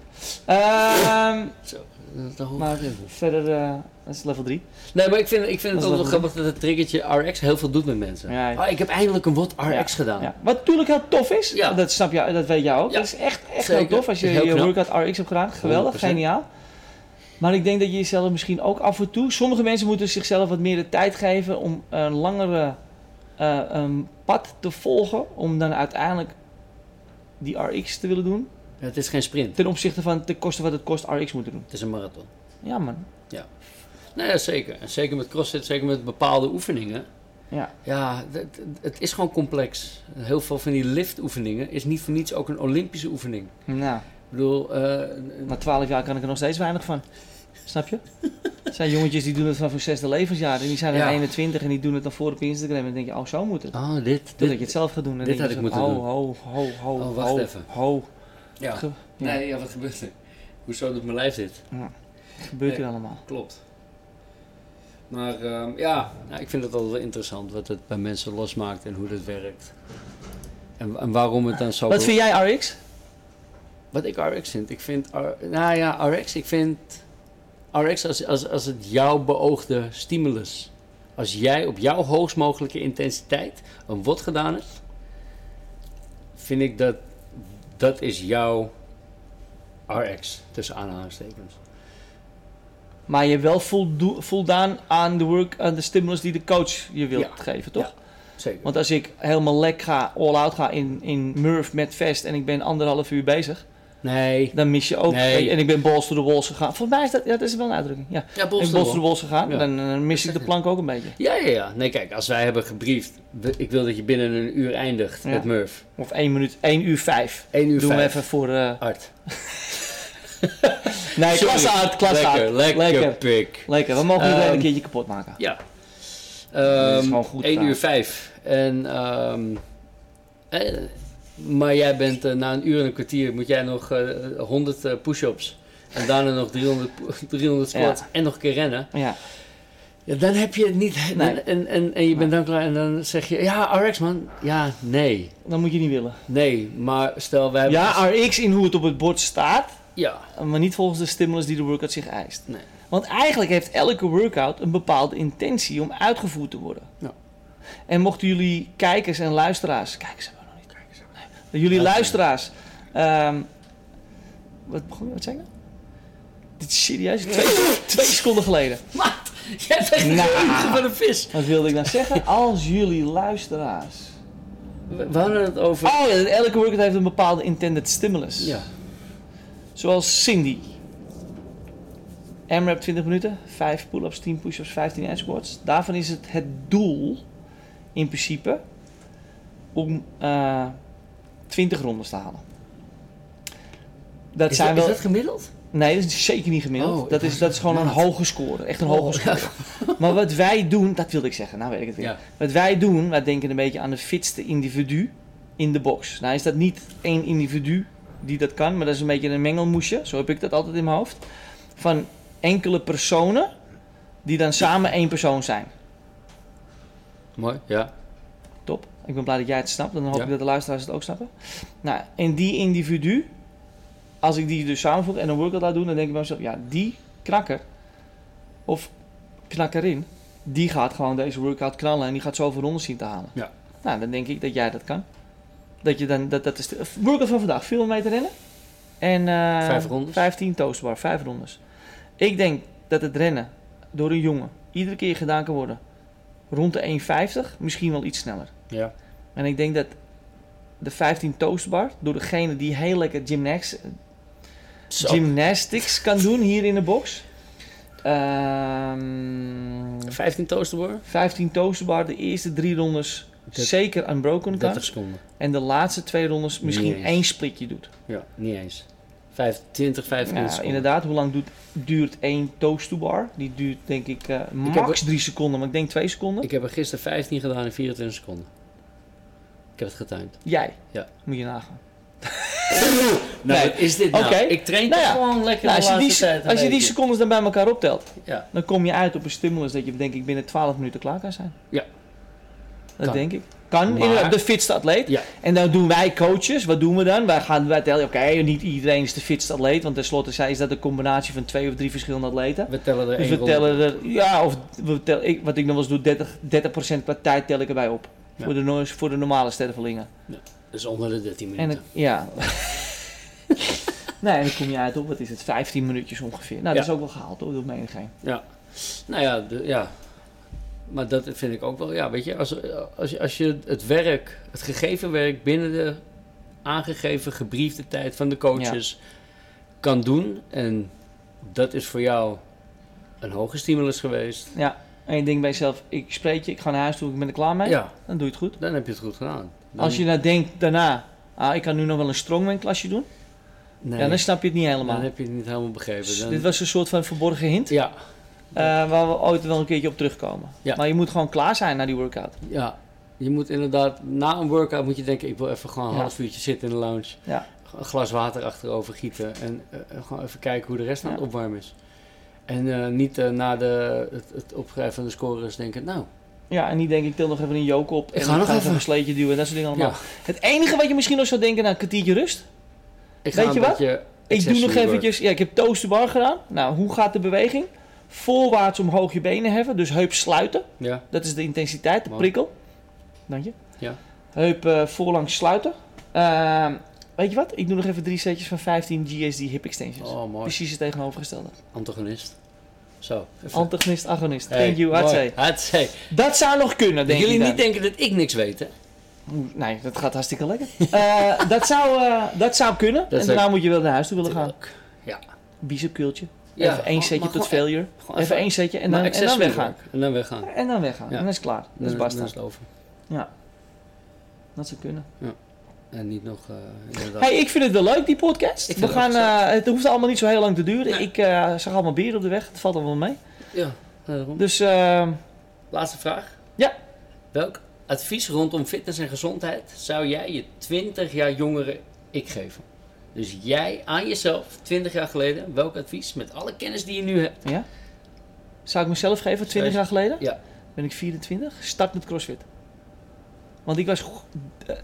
Speaker 1: Ehm,
Speaker 2: Zo. Dat, dat hoor ik
Speaker 1: maar
Speaker 2: even.
Speaker 1: verder, eh, dat is level 3.
Speaker 2: Nee, maar ik vind, ik vind het
Speaker 1: Dat is
Speaker 2: ook
Speaker 1: wel
Speaker 2: wel grappig dat het triggertje RX heel veel doet met mensen.
Speaker 1: Ja, ja.
Speaker 2: Ah, ik heb eindelijk een wat RX gedaan.
Speaker 1: Ja. Wat natuurlijk heel tof is,
Speaker 2: Ja.
Speaker 1: dat snap je, dat weet jij ook.
Speaker 2: Ja.
Speaker 1: Dat is echt, echt
Speaker 2: Zeker.
Speaker 1: heel tof als je
Speaker 2: Is heel
Speaker 1: je
Speaker 2: knap.
Speaker 1: workout RX hebt gedaan. Geweldig,
Speaker 2: 100%.
Speaker 1: geniaal. Maar ik denk dat je jezelf misschien ook af en toe... Sommige mensen moeten zichzelf wat meer de tijd geven om een langere eh, een pad te volgen. Om dan uiteindelijk die RX te willen doen.
Speaker 2: Het is geen sprint,
Speaker 1: Ten opzichte van de kosten wat het kost RX moeten doen.
Speaker 2: het is een marathon.
Speaker 1: Ja man,
Speaker 2: Nou ja, zeker. En zeker met CrossFit, zeker met bepaalde oefeningen.
Speaker 1: ja.
Speaker 2: Ja, het, het is gewoon complex. Heel veel van die liftoefeningen is niet voor niets ook een Olympische oefening.
Speaker 1: Nou,
Speaker 2: Ik bedoel, eh,
Speaker 1: na 12 jaar kan ik er nog steeds weinig van. Snap je? Er zijn jongetjes die doen het vanaf hun zesde levensjaar. En die zijn
Speaker 2: Ja.
Speaker 1: dan 21 en die doen het dan voor op Instagram. En dan denk je, oh zo moet het.
Speaker 2: oh, dit,
Speaker 1: Doordat
Speaker 2: dit.
Speaker 1: je het zelf gaat doen. Dan
Speaker 2: dit
Speaker 1: denk je
Speaker 2: had ik
Speaker 1: zo,
Speaker 2: moeten
Speaker 1: ho, Ho, ho, ho,
Speaker 2: Oh, wacht
Speaker 1: ho,
Speaker 2: even.
Speaker 1: ho.
Speaker 2: Ja.
Speaker 1: Ge- ja,
Speaker 2: Nee, ja, wat gebeurt er? Hoezo doet mijn lijf dit?
Speaker 1: Wat gebeurt hier
Speaker 2: Nee.
Speaker 1: allemaal?
Speaker 2: Klopt. Maar ehm, ja, nou, ik vind het altijd wel interessant wat het bij mensen losmaakt en hoe dat werkt. En, en waarom het dan zo...
Speaker 1: Wat vind jij RX?
Speaker 2: Wat ik RX vind? Ik vind... R- nou ja, RX, ik vind... RX als, als, als het jouw beoogde stimulus. Als jij op jouw hoogst mogelijke intensiteit een WOD gedaan hebt, vind ik dat dat is jouw RX, tussen aanhalingstekens.
Speaker 1: Maar je hebt wel voldo- voldaan aan de work, aan de stimulus die de coach je wil
Speaker 2: Ja.
Speaker 1: geven, toch?
Speaker 2: Zeker.
Speaker 1: Want als ik helemaal lek ga, all-out ga in, in Murph met vest en ik ben anderhalf uur bezig,
Speaker 2: Nee.
Speaker 1: dan mis je ook.
Speaker 2: Nee.
Speaker 1: En ik ben balls to the walls gegaan. Volgens mij is dat, ja, dat is wel een uitdrukking. Ja.
Speaker 2: Ja,
Speaker 1: Ik ben balls to the walls gegaan,
Speaker 2: Ja.
Speaker 1: dan eh, mis ik de plank ook een beetje.
Speaker 2: Ja, ja, ja. Nee, kijk, als wij hebben gebriefd, we- ik wil dat je binnen een uur eindigt
Speaker 1: Ja.
Speaker 2: met Murph.
Speaker 1: Of 1 minuut, 1 uur 5.
Speaker 2: 1 uur
Speaker 1: Doe hem
Speaker 2: vijf.
Speaker 1: even voor. eh
Speaker 2: Hard.
Speaker 1: nee,
Speaker 2: Sorry.
Speaker 1: klas uit, klas
Speaker 2: lekker,
Speaker 1: uit.
Speaker 2: Lekker, pik.
Speaker 1: Lekker, we mogen het
Speaker 2: Ehm,
Speaker 1: wel een keertje kapot maken.
Speaker 2: Ja.
Speaker 1: is
Speaker 2: Ehm
Speaker 1: gewoon goed
Speaker 2: 1
Speaker 1: gedaan.
Speaker 2: uur 5. En, ehm, eh, maar jij bent eh, na een uur en een kwartier, moet jij nog eh, 100 eh, push-ups. En daarna nog 300, po- [laughs] 300 squats en nog een keer rennen.
Speaker 1: Ja.
Speaker 2: Ja, dan heb je het niet.
Speaker 1: Nee.
Speaker 2: En, en, en, en je bent dan klaar en dan zeg je, ja, RX man. Ja, nee.
Speaker 1: Dat moet je niet willen.
Speaker 2: Nee, maar stel, wij hebben...
Speaker 1: Ja, RX in hoe het op het bord staat,
Speaker 2: ja.
Speaker 1: [laughs] maar niet volgens de stimulus die de workout zich eist.
Speaker 2: Nee.
Speaker 1: Want eigenlijk heeft elke workout een bepaalde intentie om uitgevoerd te worden.
Speaker 2: Ja.
Speaker 1: En mochten jullie kijkers en luisteraars, kijkers hebben we nog niet, kijkers hebben we nog niet. jullie luisteraars, ehm, wat begon je, wat zei ik nou? Dit is serieus, twee, twee seconden geleden.
Speaker 2: Wat? Jij bent een
Speaker 1: Nou.
Speaker 2: nah. van een vis.
Speaker 1: Wat wilde ik nou zeggen? Als jullie luisteraars.
Speaker 2: We we hadden het over...
Speaker 1: Oh ja, elke workout heeft een bepaalde intended stimulus.
Speaker 2: Ja.
Speaker 1: Zoals Cindy. AMRAP 20 minuten, 5 pull-ups, 10 push-ups, 15 air squats. Daarvan is het het doel in principe om eh 20 rondes te halen. Dat
Speaker 2: is,
Speaker 1: zijn
Speaker 2: dat,
Speaker 1: wel...
Speaker 2: is dat gemiddeld?
Speaker 1: Nee, dat is zeker niet gemiddeld.
Speaker 2: Oh, ik Oh.
Speaker 1: dat, is, dat is gewoon een hoge score. Echt een hoge score. Maar wat wij doen, dat wilde ik zeggen, nou weet ik het weer.
Speaker 2: Ja.
Speaker 1: Wat wij doen, wij denken een beetje aan de fitste individu in de box. Nou is dat niet één individu die dat kan, maar dat is een beetje een mengelmoesje. Zo heb ik dat altijd in mijn hoofd. Van enkele personen die dan samen één persoon zijn.
Speaker 2: Mooi, ja.
Speaker 1: Top. Ik ben blij dat jij het snapt. En dan hoop
Speaker 2: Ja.
Speaker 1: ik dat de luisteraars het ook snappen. Nou, en die individu, als ik die dus samenvoeg en een workout laat doen, dan denk ik bij mezelf, ja, die knakker of knakkerin, die gaat gewoon deze workout knallen en die gaat zoveel rondes zien te halen.
Speaker 2: Ja.
Speaker 1: Nou, dan denk ik dat jij dat kan. Dat je dan, dat, dat is de workout van vandaag, veel meter rennen en eh,
Speaker 2: Vijf rondes.
Speaker 1: 15 toastbar, vijf rondes. Ik denk dat het rennen door een jongen iedere keer gedaan kan worden rond de 1,50, misschien wel iets sneller.
Speaker 2: Ja.
Speaker 1: En ik denk dat de 15 toastbar door degene die heel lekker gymnastics,
Speaker 2: Zo.
Speaker 1: gymnastics kan doen hier in de box. Ehm
Speaker 2: 15 toasterboren?
Speaker 1: 15 toastbar, de eerste drie rondes
Speaker 2: Dert-
Speaker 1: zeker unbroken kan.
Speaker 2: 30 seconden.
Speaker 1: En de laatste twee rondes misschien
Speaker 2: Yes.
Speaker 1: één splitje doet.
Speaker 2: Ja, niet eens. Vijf- 20, 25
Speaker 1: Nou,
Speaker 2: seconden.
Speaker 1: inderdaad, hoe lang doet, duurt één toast-to-bar? Die duurt denk ik eh, max
Speaker 2: ook-
Speaker 1: drie seconden, maar ik denk twee seconden.
Speaker 2: Ik heb er gisteren 15 gedaan in 24 seconden. Ik heb het
Speaker 1: [laughs]
Speaker 2: getimed.
Speaker 1: Jij,
Speaker 2: Ja.
Speaker 1: moet je nagaan.
Speaker 2: Nou,
Speaker 1: Nee.
Speaker 2: wat is dit nou?
Speaker 1: Oké.
Speaker 2: Ik train
Speaker 1: Nou
Speaker 2: toch
Speaker 1: ja.
Speaker 2: gewoon lekker
Speaker 1: Nou,
Speaker 2: de
Speaker 1: als je,
Speaker 2: laatste
Speaker 1: die,
Speaker 2: tijd een
Speaker 1: als je die
Speaker 2: beetje.
Speaker 1: secondes dan bij elkaar optelt,
Speaker 2: Ja,
Speaker 1: Dan kom je uit op een stimulus dat je denk ik binnen 12 minuten klaar kan zijn.
Speaker 2: Ja.
Speaker 1: Dat
Speaker 2: Kan.
Speaker 1: denk ik. Kan,
Speaker 2: Maar-
Speaker 1: inderdaad, de fitste atleet.
Speaker 2: ja.
Speaker 1: En dan doen wij coaches, wat doen we dan? Wij gaan wij tellen, oké, niet iedereen is de fitste atleet, want tenslotte zei- is dat een combinatie van twee of drie verschillende atleten.
Speaker 2: we tellen er
Speaker 1: Dus
Speaker 2: één
Speaker 1: we
Speaker 2: ronde.
Speaker 1: tellen er, ja, of we tellen, ik, wat ik nog wel eens doe, 30, 30% qua tijd tel ik erbij op.
Speaker 2: Ja.
Speaker 1: Voor, de, no- voor de normale stervelingen.
Speaker 2: Dus onder de 13
Speaker 1: En
Speaker 2: minuten.
Speaker 1: het, ja. [laughs] nee, en dan kom je uit op, wat is het, 15 minuutjes ongeveer. Nou, dat
Speaker 2: Ja.
Speaker 1: is ook wel gehaald hoor, door menigeen.
Speaker 2: Ja. Nou ja, de- ja. Maar dat vind ik ook wel, ja, weet je, als, als, je- als je het werk, het gegeven werk binnen de aangegeven gebriefde tijd van de coaches kan doen. En dat is voor jou een hoge stimulus geweest.
Speaker 1: En je denkt bij jezelf, ik spreek je, ik ga naar huis toe, ik ben er klaar mee.
Speaker 2: Ja,
Speaker 1: Dan doe je het goed.
Speaker 2: dan heb je het goed gedaan. Dan-
Speaker 1: Als je nou denkt daarna, ah, ik kan nu nog wel een strongman klasje doen.
Speaker 2: nee,
Speaker 1: Ja, dan snap je het niet helemaal.
Speaker 2: dan heb je het niet helemaal begrepen.
Speaker 1: Dus
Speaker 2: Dan,
Speaker 1: dit was een soort van verborgen hint.
Speaker 2: ja,
Speaker 1: eh, waar we ooit wel een keertje op terugkomen.
Speaker 2: Ja.
Speaker 1: Maar je moet gewoon klaar zijn na die workout.
Speaker 2: ja, je moet inderdaad, na een workout moet je denken, ik wil even gewoon een
Speaker 1: Ja.
Speaker 2: half uurtje zitten in de lounge.
Speaker 1: Ja.
Speaker 2: een glas water achterover gieten en eh, eh, gewoon even kijken hoe de rest aan het
Speaker 1: Ja.
Speaker 2: opwarmen is. En eh, niet eh, na de, het, het opschrijven van de scores denken, nou,
Speaker 1: Ja, en niet denk ik, til nog even een joke op. en
Speaker 2: ga nog
Speaker 1: even
Speaker 2: even.
Speaker 1: een sleetje duwen en dat soort dingen allemaal.
Speaker 2: Ja.
Speaker 1: Het enige wat je misschien nog zou denken, nou, een kwartiertje rust.
Speaker 2: ik
Speaker 1: Weet
Speaker 2: een
Speaker 1: je wat?
Speaker 2: beetje
Speaker 1: Ik doe
Speaker 2: accessory
Speaker 1: nog
Speaker 2: work.
Speaker 1: eventjes, ja, ik heb toast to bar gedaan. Nou, hoe gaat de beweging? Voorwaarts omhoog je benen heffen, dus heup sluiten.
Speaker 2: Ja,
Speaker 1: Dat is de intensiteit, de
Speaker 2: Mooi.
Speaker 1: prikkel. Dank je.
Speaker 2: Ja.
Speaker 1: Heup eh, voorlangs sluiten. Ehm, weet je wat? Ik doe nog even drie setjes van 15 GSD hip extensions.
Speaker 2: oh mooi.
Speaker 1: Precies het tegenovergestelde.
Speaker 2: Antagonist. Zo, even.
Speaker 1: Antagonist, agonist.
Speaker 2: Hey,
Speaker 1: Thank you,
Speaker 2: mooi.
Speaker 1: Hatsé.
Speaker 2: Hatsé.
Speaker 1: Dat zou nog kunnen, denk
Speaker 2: Jullie
Speaker 1: ik. dan.
Speaker 2: niet denken dat ik niks weet, hè?
Speaker 1: Oeh, Nee, dat gaat hartstikke lekker. [laughs] Eh, dat, zou, eh, dat zou kunnen.
Speaker 2: Dat
Speaker 1: en
Speaker 2: zou-
Speaker 1: daarna moet je wel naar huis toe willen gaan.
Speaker 2: Ja.
Speaker 1: Bicepkultje.
Speaker 2: Ja,
Speaker 1: even één
Speaker 2: maar-
Speaker 1: setje
Speaker 2: maar
Speaker 1: tot
Speaker 2: gewoon-
Speaker 1: failure.
Speaker 2: Gewoon
Speaker 1: Even één setje en
Speaker 2: maar
Speaker 1: dan, en dan
Speaker 2: accessory
Speaker 1: weggaan.
Speaker 2: work. En dan weggaan.
Speaker 1: En dan weggaan.
Speaker 2: Ja.
Speaker 1: En dan is het klaar.
Speaker 2: Dan-
Speaker 1: Dat is
Speaker 2: dan
Speaker 1: basta.
Speaker 2: het over.
Speaker 1: Dat zou kunnen.
Speaker 2: En niet nog, eh, inderdaad.
Speaker 1: Hey, ik vind het wel leuk, die podcast.
Speaker 2: Ik
Speaker 1: We
Speaker 2: vind
Speaker 1: gaan,
Speaker 2: het ook
Speaker 1: eh, het hoeft allemaal niet zo heel lang te duren.
Speaker 2: Nee.
Speaker 1: Ik eh, zag allemaal bier op de weg. Het valt allemaal mee.
Speaker 2: Ja, daarom.
Speaker 1: Dus eh,
Speaker 2: Laatste vraag.
Speaker 1: Ja.
Speaker 2: Welk advies rondom fitness en gezondheid zou jij je 20 jaar jongere ik geven? Dus jij aan jezelf, 20 jaar geleden, welk advies met alle kennis die je nu hebt?
Speaker 1: ja. Zou ik mezelf geven, 20 jaar geleden?
Speaker 2: Ja.
Speaker 1: Ben ik 24? Start met CrossFit. Want ik was... go- eh,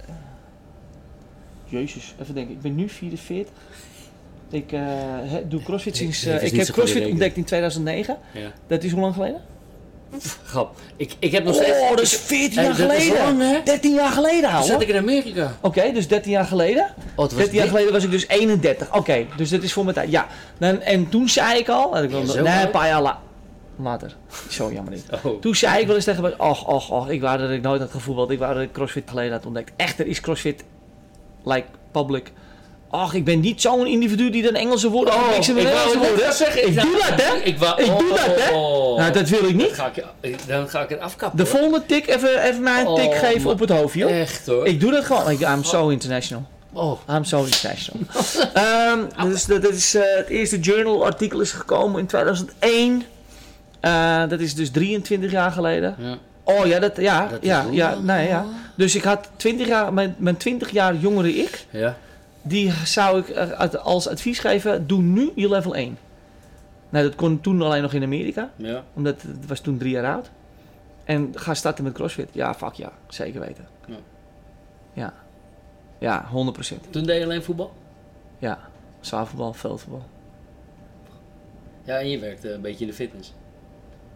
Speaker 1: Jezus, even denken. Ik ben nu 44. Ik eh, hè, doe CrossFit
Speaker 2: Ik-
Speaker 1: sinds...
Speaker 2: ik-
Speaker 1: eh,
Speaker 2: het is
Speaker 1: ik
Speaker 2: niet
Speaker 1: heb
Speaker 2: zo goed
Speaker 1: CrossFit
Speaker 2: in
Speaker 1: ontdekt in 2009.
Speaker 2: Ja.
Speaker 1: Dat is hoe lang geleden?
Speaker 2: Grap. Ik, ik heb nog steeds.
Speaker 1: Oh, dat is
Speaker 2: ik-
Speaker 1: 14
Speaker 2: Hey,
Speaker 1: jaar
Speaker 2: dat is lang,
Speaker 1: geleden!
Speaker 2: hè?
Speaker 1: 13 jaar geleden,
Speaker 2: Toen zat
Speaker 1: ouwe!
Speaker 2: ik in Amerika.
Speaker 1: Oké, dus 13 jaar geleden.
Speaker 2: Oh, het was
Speaker 1: 13 jaar
Speaker 2: dit-
Speaker 1: geleden was ik dus 31. Oké, dus dat is voor mijn tijd. Ja. Dan, en toen zei ik al. dat Ik wel-
Speaker 2: Ja, zo
Speaker 1: nee, een
Speaker 2: oud.
Speaker 1: paar jaar la- later. Zo jammer niet.
Speaker 2: Oh.
Speaker 1: Toen zei ik wel eens tegen me: Och, och, och, ik wou dat ik nooit had gevoetbald. Ik wou dat ik CrossFit geleden had ontdekt. Echter is CrossFit, like public, Ach, ik ben niet zo'n individu die dan Engelse woorden
Speaker 2: Oh,
Speaker 1: oh,
Speaker 2: ik
Speaker 1: mixen met
Speaker 2: wou
Speaker 1: Nederlandse
Speaker 2: net
Speaker 1: woorden.
Speaker 2: zeggen, ik
Speaker 1: Ik doe
Speaker 2: dacht-
Speaker 1: dat, hè?
Speaker 2: Ik, wou-
Speaker 1: Ik doe dat, hè?
Speaker 2: oh.
Speaker 1: Nou, dat wil ik
Speaker 2: Dan
Speaker 1: niet.
Speaker 2: ga ik, je- dan ga ik het afkappen.
Speaker 1: De
Speaker 2: hoor.
Speaker 1: volgende tik even, even mij een tik
Speaker 2: Oh,
Speaker 1: geven
Speaker 2: maar-
Speaker 1: op het hoofd, joh.
Speaker 2: Echt hoor.
Speaker 1: Ik doe dat gewoon. Ik, I'm so international.
Speaker 2: oh.
Speaker 1: I'm so international. [laughs] Ehm, dus dat is, eh, het eerste journal artikel is gekomen in 2001. Eh, dat is dus 23 jaar geleden.
Speaker 2: Ja.
Speaker 1: Oh ja, dat, ja,
Speaker 2: Dat is Oh.
Speaker 1: ja,
Speaker 2: hoe
Speaker 1: ja,
Speaker 2: dan?
Speaker 1: nee, ja. Dus ik had 20 jaar, mijn, mijn 20 jaar jongere ik,
Speaker 2: Ja.
Speaker 1: die zou ik eh, ad- als advies geven, doe nu je level 1. Nou, dat kon toen alleen nog in Amerika,
Speaker 2: Ja.
Speaker 1: omdat het was toen drie jaar oud. En ga starten met CrossFit. Ja, fuck ja, zeker weten.
Speaker 2: Ja.
Speaker 1: Ja, ja 100%.
Speaker 2: Toen deed je alleen voetbal?
Speaker 1: Ja, zaalvoetbal, veldvoetbal.
Speaker 2: Ja, en je werkte een beetje in de fitness.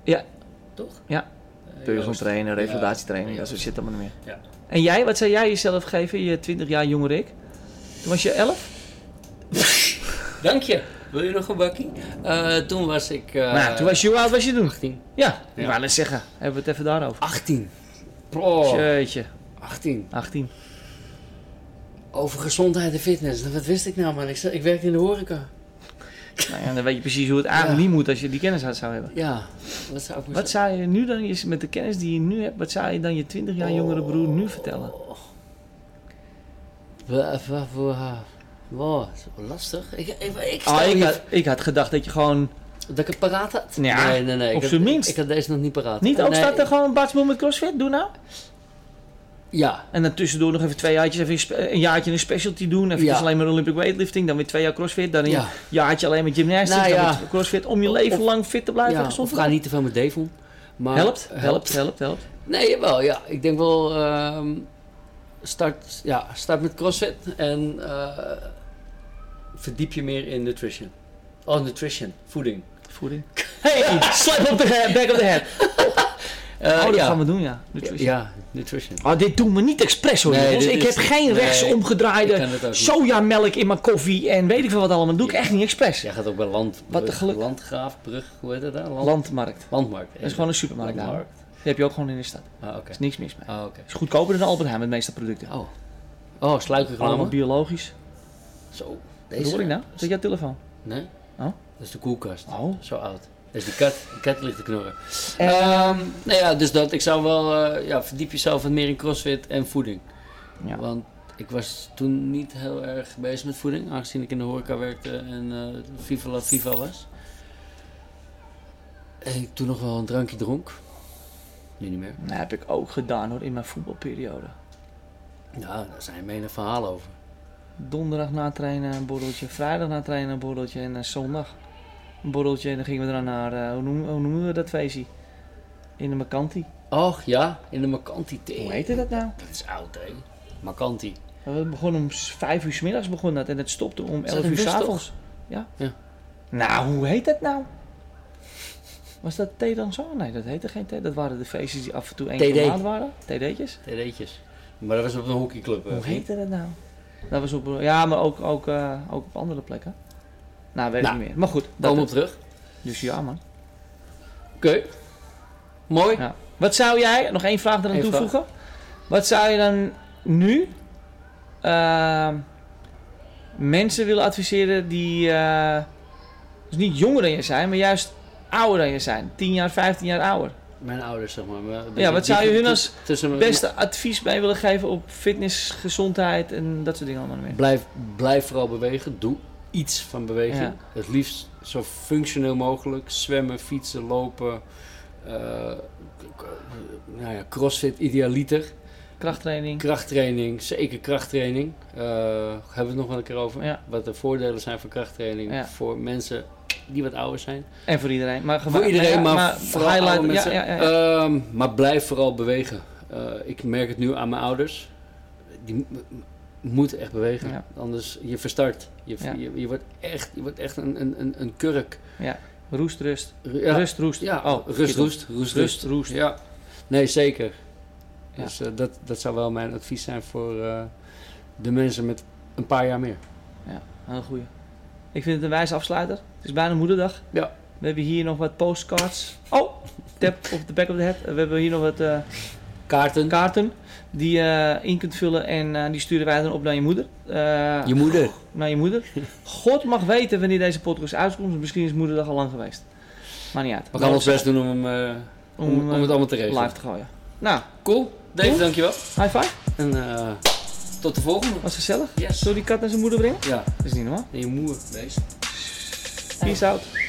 Speaker 1: Ja.
Speaker 2: Toch?
Speaker 1: Ja.
Speaker 2: Eh,
Speaker 1: Personal
Speaker 2: Joost.
Speaker 1: trainen,
Speaker 2: Ja.
Speaker 1: revalidatietraining,
Speaker 2: Ja.
Speaker 1: dat soort shit allemaal niet meer.
Speaker 2: Ja.
Speaker 1: En jij, wat zou jij jezelf geven, je 20 jaar jonger ik? Toen was je 11?
Speaker 2: Dank je. Wil je nog een bakkie? Eh, toen was ik... eh,
Speaker 1: nou, toen was je, hoe oud was je toen?
Speaker 2: 18.
Speaker 1: Ja, ik
Speaker 2: Ja.
Speaker 1: wou net zeggen. Oh. Hebben we het even daarover.
Speaker 2: 18. Pro.
Speaker 1: Jeetje,
Speaker 2: 18.
Speaker 1: 18.
Speaker 2: Over gezondheid en fitness. Nou, Wat wist ik nou man? Ik, zat- ik werkte in de horeca.
Speaker 1: Nou ja, dan weet je precies hoe het aan en
Speaker 2: Ja.
Speaker 1: niet moet als je die kennis had zou hebben.
Speaker 2: Ja. Wat zou ik me
Speaker 1: Wat zou je nu dan, eens- met de kennis die je nu hebt, wat zou je dan je 20 jaar jongere broer nu vertellen?
Speaker 2: Oh. Wa- wa- wa- Wow, dat is wel lastig. Ik, ik, ik, stel
Speaker 1: Ah, ik,
Speaker 2: niet-
Speaker 1: had, ik had gedacht dat je gewoon...
Speaker 2: Dat ik het paraat had?
Speaker 1: Ja,
Speaker 2: nee, nee, nee. ik
Speaker 1: op
Speaker 2: had-
Speaker 1: zijn minst.
Speaker 2: Ik had deze nog niet paraat.
Speaker 1: Niet, ook
Speaker 2: Nee,
Speaker 1: staat er gewoon Bartsmoel met CrossFit, doe nou.
Speaker 2: Ja,
Speaker 1: En dan tussendoor nog even twee jaartjes, even een spe- een jaartje een specialty doen. Even dus
Speaker 2: Ja. Ja.
Speaker 1: jaartje alleen maar gymnastics,
Speaker 2: Nou
Speaker 1: dan
Speaker 2: ja.
Speaker 1: weer crossfit. Om je leven
Speaker 2: Of-
Speaker 1: lang fit te blijven en
Speaker 2: ja.
Speaker 1: gezond
Speaker 2: Of
Speaker 1: te
Speaker 2: ga
Speaker 1: blijven.
Speaker 2: niet te veel met Devon. Maar
Speaker 1: Helpt, helpt, helpt, helpt.
Speaker 2: Nee, jawel, ja. Ik denk wel... ehm, start, ja, start met CrossFit en eh, verdiep je meer in nutrition. Oh, nutrition. Voeding. [laughs]
Speaker 1: Voeding. Hey, slap op de he- back of the head.
Speaker 2: Eh,
Speaker 1: oh, dat
Speaker 2: ja.
Speaker 1: gaan we doen, ja. Nutrition.
Speaker 2: Ja, nutrition.
Speaker 1: Oh, dit doen we niet expres hoor,
Speaker 2: Nee,
Speaker 1: jongens.
Speaker 2: dit
Speaker 1: Ik
Speaker 2: is-
Speaker 1: heb geen
Speaker 2: nee,
Speaker 1: rechts omgedraaide
Speaker 2: ik kan het ook niet.
Speaker 1: sojamelk in mijn koffie en weet ik veel wat allemaal. Dat doe ik
Speaker 2: Ja.
Speaker 1: echt niet expres.
Speaker 2: Jij gaat ook bij land,
Speaker 1: Wat een
Speaker 2: brug-
Speaker 1: geluk.
Speaker 2: Landgraaf, brug, hoe heet dat daar? Land,
Speaker 1: Landmarkt.
Speaker 2: landmarkt.
Speaker 1: Dat is gewoon een supermarkt daar. hoor.
Speaker 2: Landmarkt.
Speaker 1: Die heb je ook gewoon in de stad. Er
Speaker 2: Ah, oké.
Speaker 1: is niks mis mee.
Speaker 2: Ah, oké.
Speaker 1: Het is goedkoper dan Albert Heijn met de meeste producten.
Speaker 2: Oh. Oh, sluikreclame.
Speaker 1: Allemaal biologisch.
Speaker 2: Zo.
Speaker 1: Wat hoor ik nou? Is dat jouw telefoon?
Speaker 2: Nee.
Speaker 1: Oh.
Speaker 2: Dat is de koelkast.
Speaker 1: Oh.
Speaker 2: Zo oud. Dus die kat, die kat ligt te knorren.
Speaker 1: Ehm.
Speaker 2: Nou ja, dus dat. Ik zou wel... eh, ja, verdiep jezelf wat meer in crossfit en voeding.
Speaker 1: Ja.
Speaker 2: Want ik was toen niet heel erg bezig met voeding. Aangezien ik in de horeca werkte en eh Viva La Viva was. En ik toen nog wel een drankje dronk. Nu niet meer.
Speaker 1: Dat Nou, heb ik ook gedaan hoor, in mijn voetbalperiode.
Speaker 2: Ja, daar zijn menig verhalen over.
Speaker 1: Donderdag na trainen een borreltje, vrijdag na trainen een borreltje en eh, zondag een borreltje. En dan gingen we dan naar, eh, hoe, noemen, hoe noemen we dat feestje? In de Macanti.
Speaker 2: Och ja, in de Macanti thee.
Speaker 1: Hoe heette dat nou?
Speaker 2: Dat is oud, hè? Macanti.
Speaker 1: We begonnen om s- vijf uur s middags begon dat en het stopte om
Speaker 2: dat
Speaker 1: elf
Speaker 2: in
Speaker 1: uur
Speaker 2: Westhoek?
Speaker 1: s'avonds. Ja.
Speaker 2: Ja.
Speaker 1: Nou, hoe heet dat nou? Was dat thee dan zo? Nee, dat heette geen thee. Dat waren de feestjes die af en toe één keer per
Speaker 2: TD.
Speaker 1: maand waren. TD'tjes.
Speaker 2: TD'tjes. Maar dat was op een hockeyclub. eh,
Speaker 1: Hoe
Speaker 2: vriend.
Speaker 1: heette dat nou? Dat was op, ja, maar ook, ook, eh, ook op andere plekken. Nou, weet
Speaker 2: Nou,
Speaker 1: ik niet meer. Maar goed, dat
Speaker 2: Kom op
Speaker 1: het.
Speaker 2: terug.
Speaker 1: Dus ja, man.
Speaker 2: Oké. Mooi.
Speaker 1: Ja. Wat zou jij, nog één vraag eraan
Speaker 2: Eén vraag.
Speaker 1: toevoegen. Wat zou je dan nu ehm, mensen willen adviseren die eh, dus niet jonger dan je zijn, maar juist ouder dan je zijn? 10 jaar, 15 jaar ouder.
Speaker 2: Mijn ouders, zeg maar. maar- dus
Speaker 1: Ja, wat zou je hun als
Speaker 2: tussen mijn-
Speaker 1: Beste advies bij willen geven op fitness, gezondheid en dat soort dingen allemaal meer.
Speaker 2: Blijf, blijf vooral bewegen. Doe iets van beweging.
Speaker 1: Ja.
Speaker 2: Het liefst zo functioneel mogelijk. Zwemmen, fietsen, lopen. eh, k- k- nou ja, crossfit idealiter.
Speaker 1: Krachttraining.
Speaker 2: Krachttraining, zeker krachttraining. Eh, hebben we het nog wel een keer over.
Speaker 1: Ja.
Speaker 2: Wat de voordelen zijn van krachttraining
Speaker 1: Ja.
Speaker 2: voor mensen die wat ouder zijn.
Speaker 1: En voor iedereen. Maar gewa-
Speaker 2: Voor iedereen,
Speaker 1: ja,
Speaker 2: maar, vooral
Speaker 1: highlight-
Speaker 2: oude mensen.
Speaker 1: Ja, ja, ja, ja.
Speaker 2: Ehm, maar blijf vooral bewegen. Eh, ik merk het nu aan mijn ouders. Die m- m- moeten echt bewegen.
Speaker 1: Ja.
Speaker 2: Anders je verstart. Je,
Speaker 1: Ja.
Speaker 2: je, je wordt echt, je wordt echt een, een, een, een kurk.
Speaker 1: Roest, rust.
Speaker 2: Ru- Eh, Ja,
Speaker 1: Rust, roest.
Speaker 2: ja,
Speaker 1: Oh,
Speaker 2: rust,
Speaker 1: schiet op.
Speaker 2: roest, rust,
Speaker 1: Rust,
Speaker 2: rust.
Speaker 1: roest.
Speaker 2: Ja. Nee, zeker.
Speaker 1: Ja.
Speaker 2: Dus eh, dat, dat zou wel mijn advies zijn voor eh, de mensen met een paar jaar meer.
Speaker 1: Ah, Een goeie. Ik vind het een wijze afsluiter. Het is bijna moederdag.
Speaker 2: Ja.
Speaker 1: We hebben hier nog wat postcards. Oh, tap op de back of the head. We hebben hier nog wat eh,
Speaker 2: Kaarten.
Speaker 1: kaarten die je in kunt vullen en eh, die sturen wij dan op naar je moeder. Eh,
Speaker 2: Je moeder.
Speaker 1: Naar je moeder. God mag weten wanneer deze podcast uitkomt. Misschien is moederdag al lang geweest. Maar niet uit.
Speaker 2: We gaan ons best doen om, hem, eh,
Speaker 1: om,
Speaker 2: om, om
Speaker 1: eh,
Speaker 2: het allemaal te regelen.
Speaker 1: live te gooien. Nou,
Speaker 2: Cool. Dave,
Speaker 1: Cool.
Speaker 2: dankjewel.
Speaker 1: high five.
Speaker 2: En eh, tot de volgende.
Speaker 1: Was gezellig.
Speaker 2: Yes.
Speaker 1: Zullen we die kat naar zijn moeder brengen?
Speaker 2: Ja,
Speaker 1: Dat is niet normaal.
Speaker 2: en je moeder, beest.
Speaker 1: Peace out.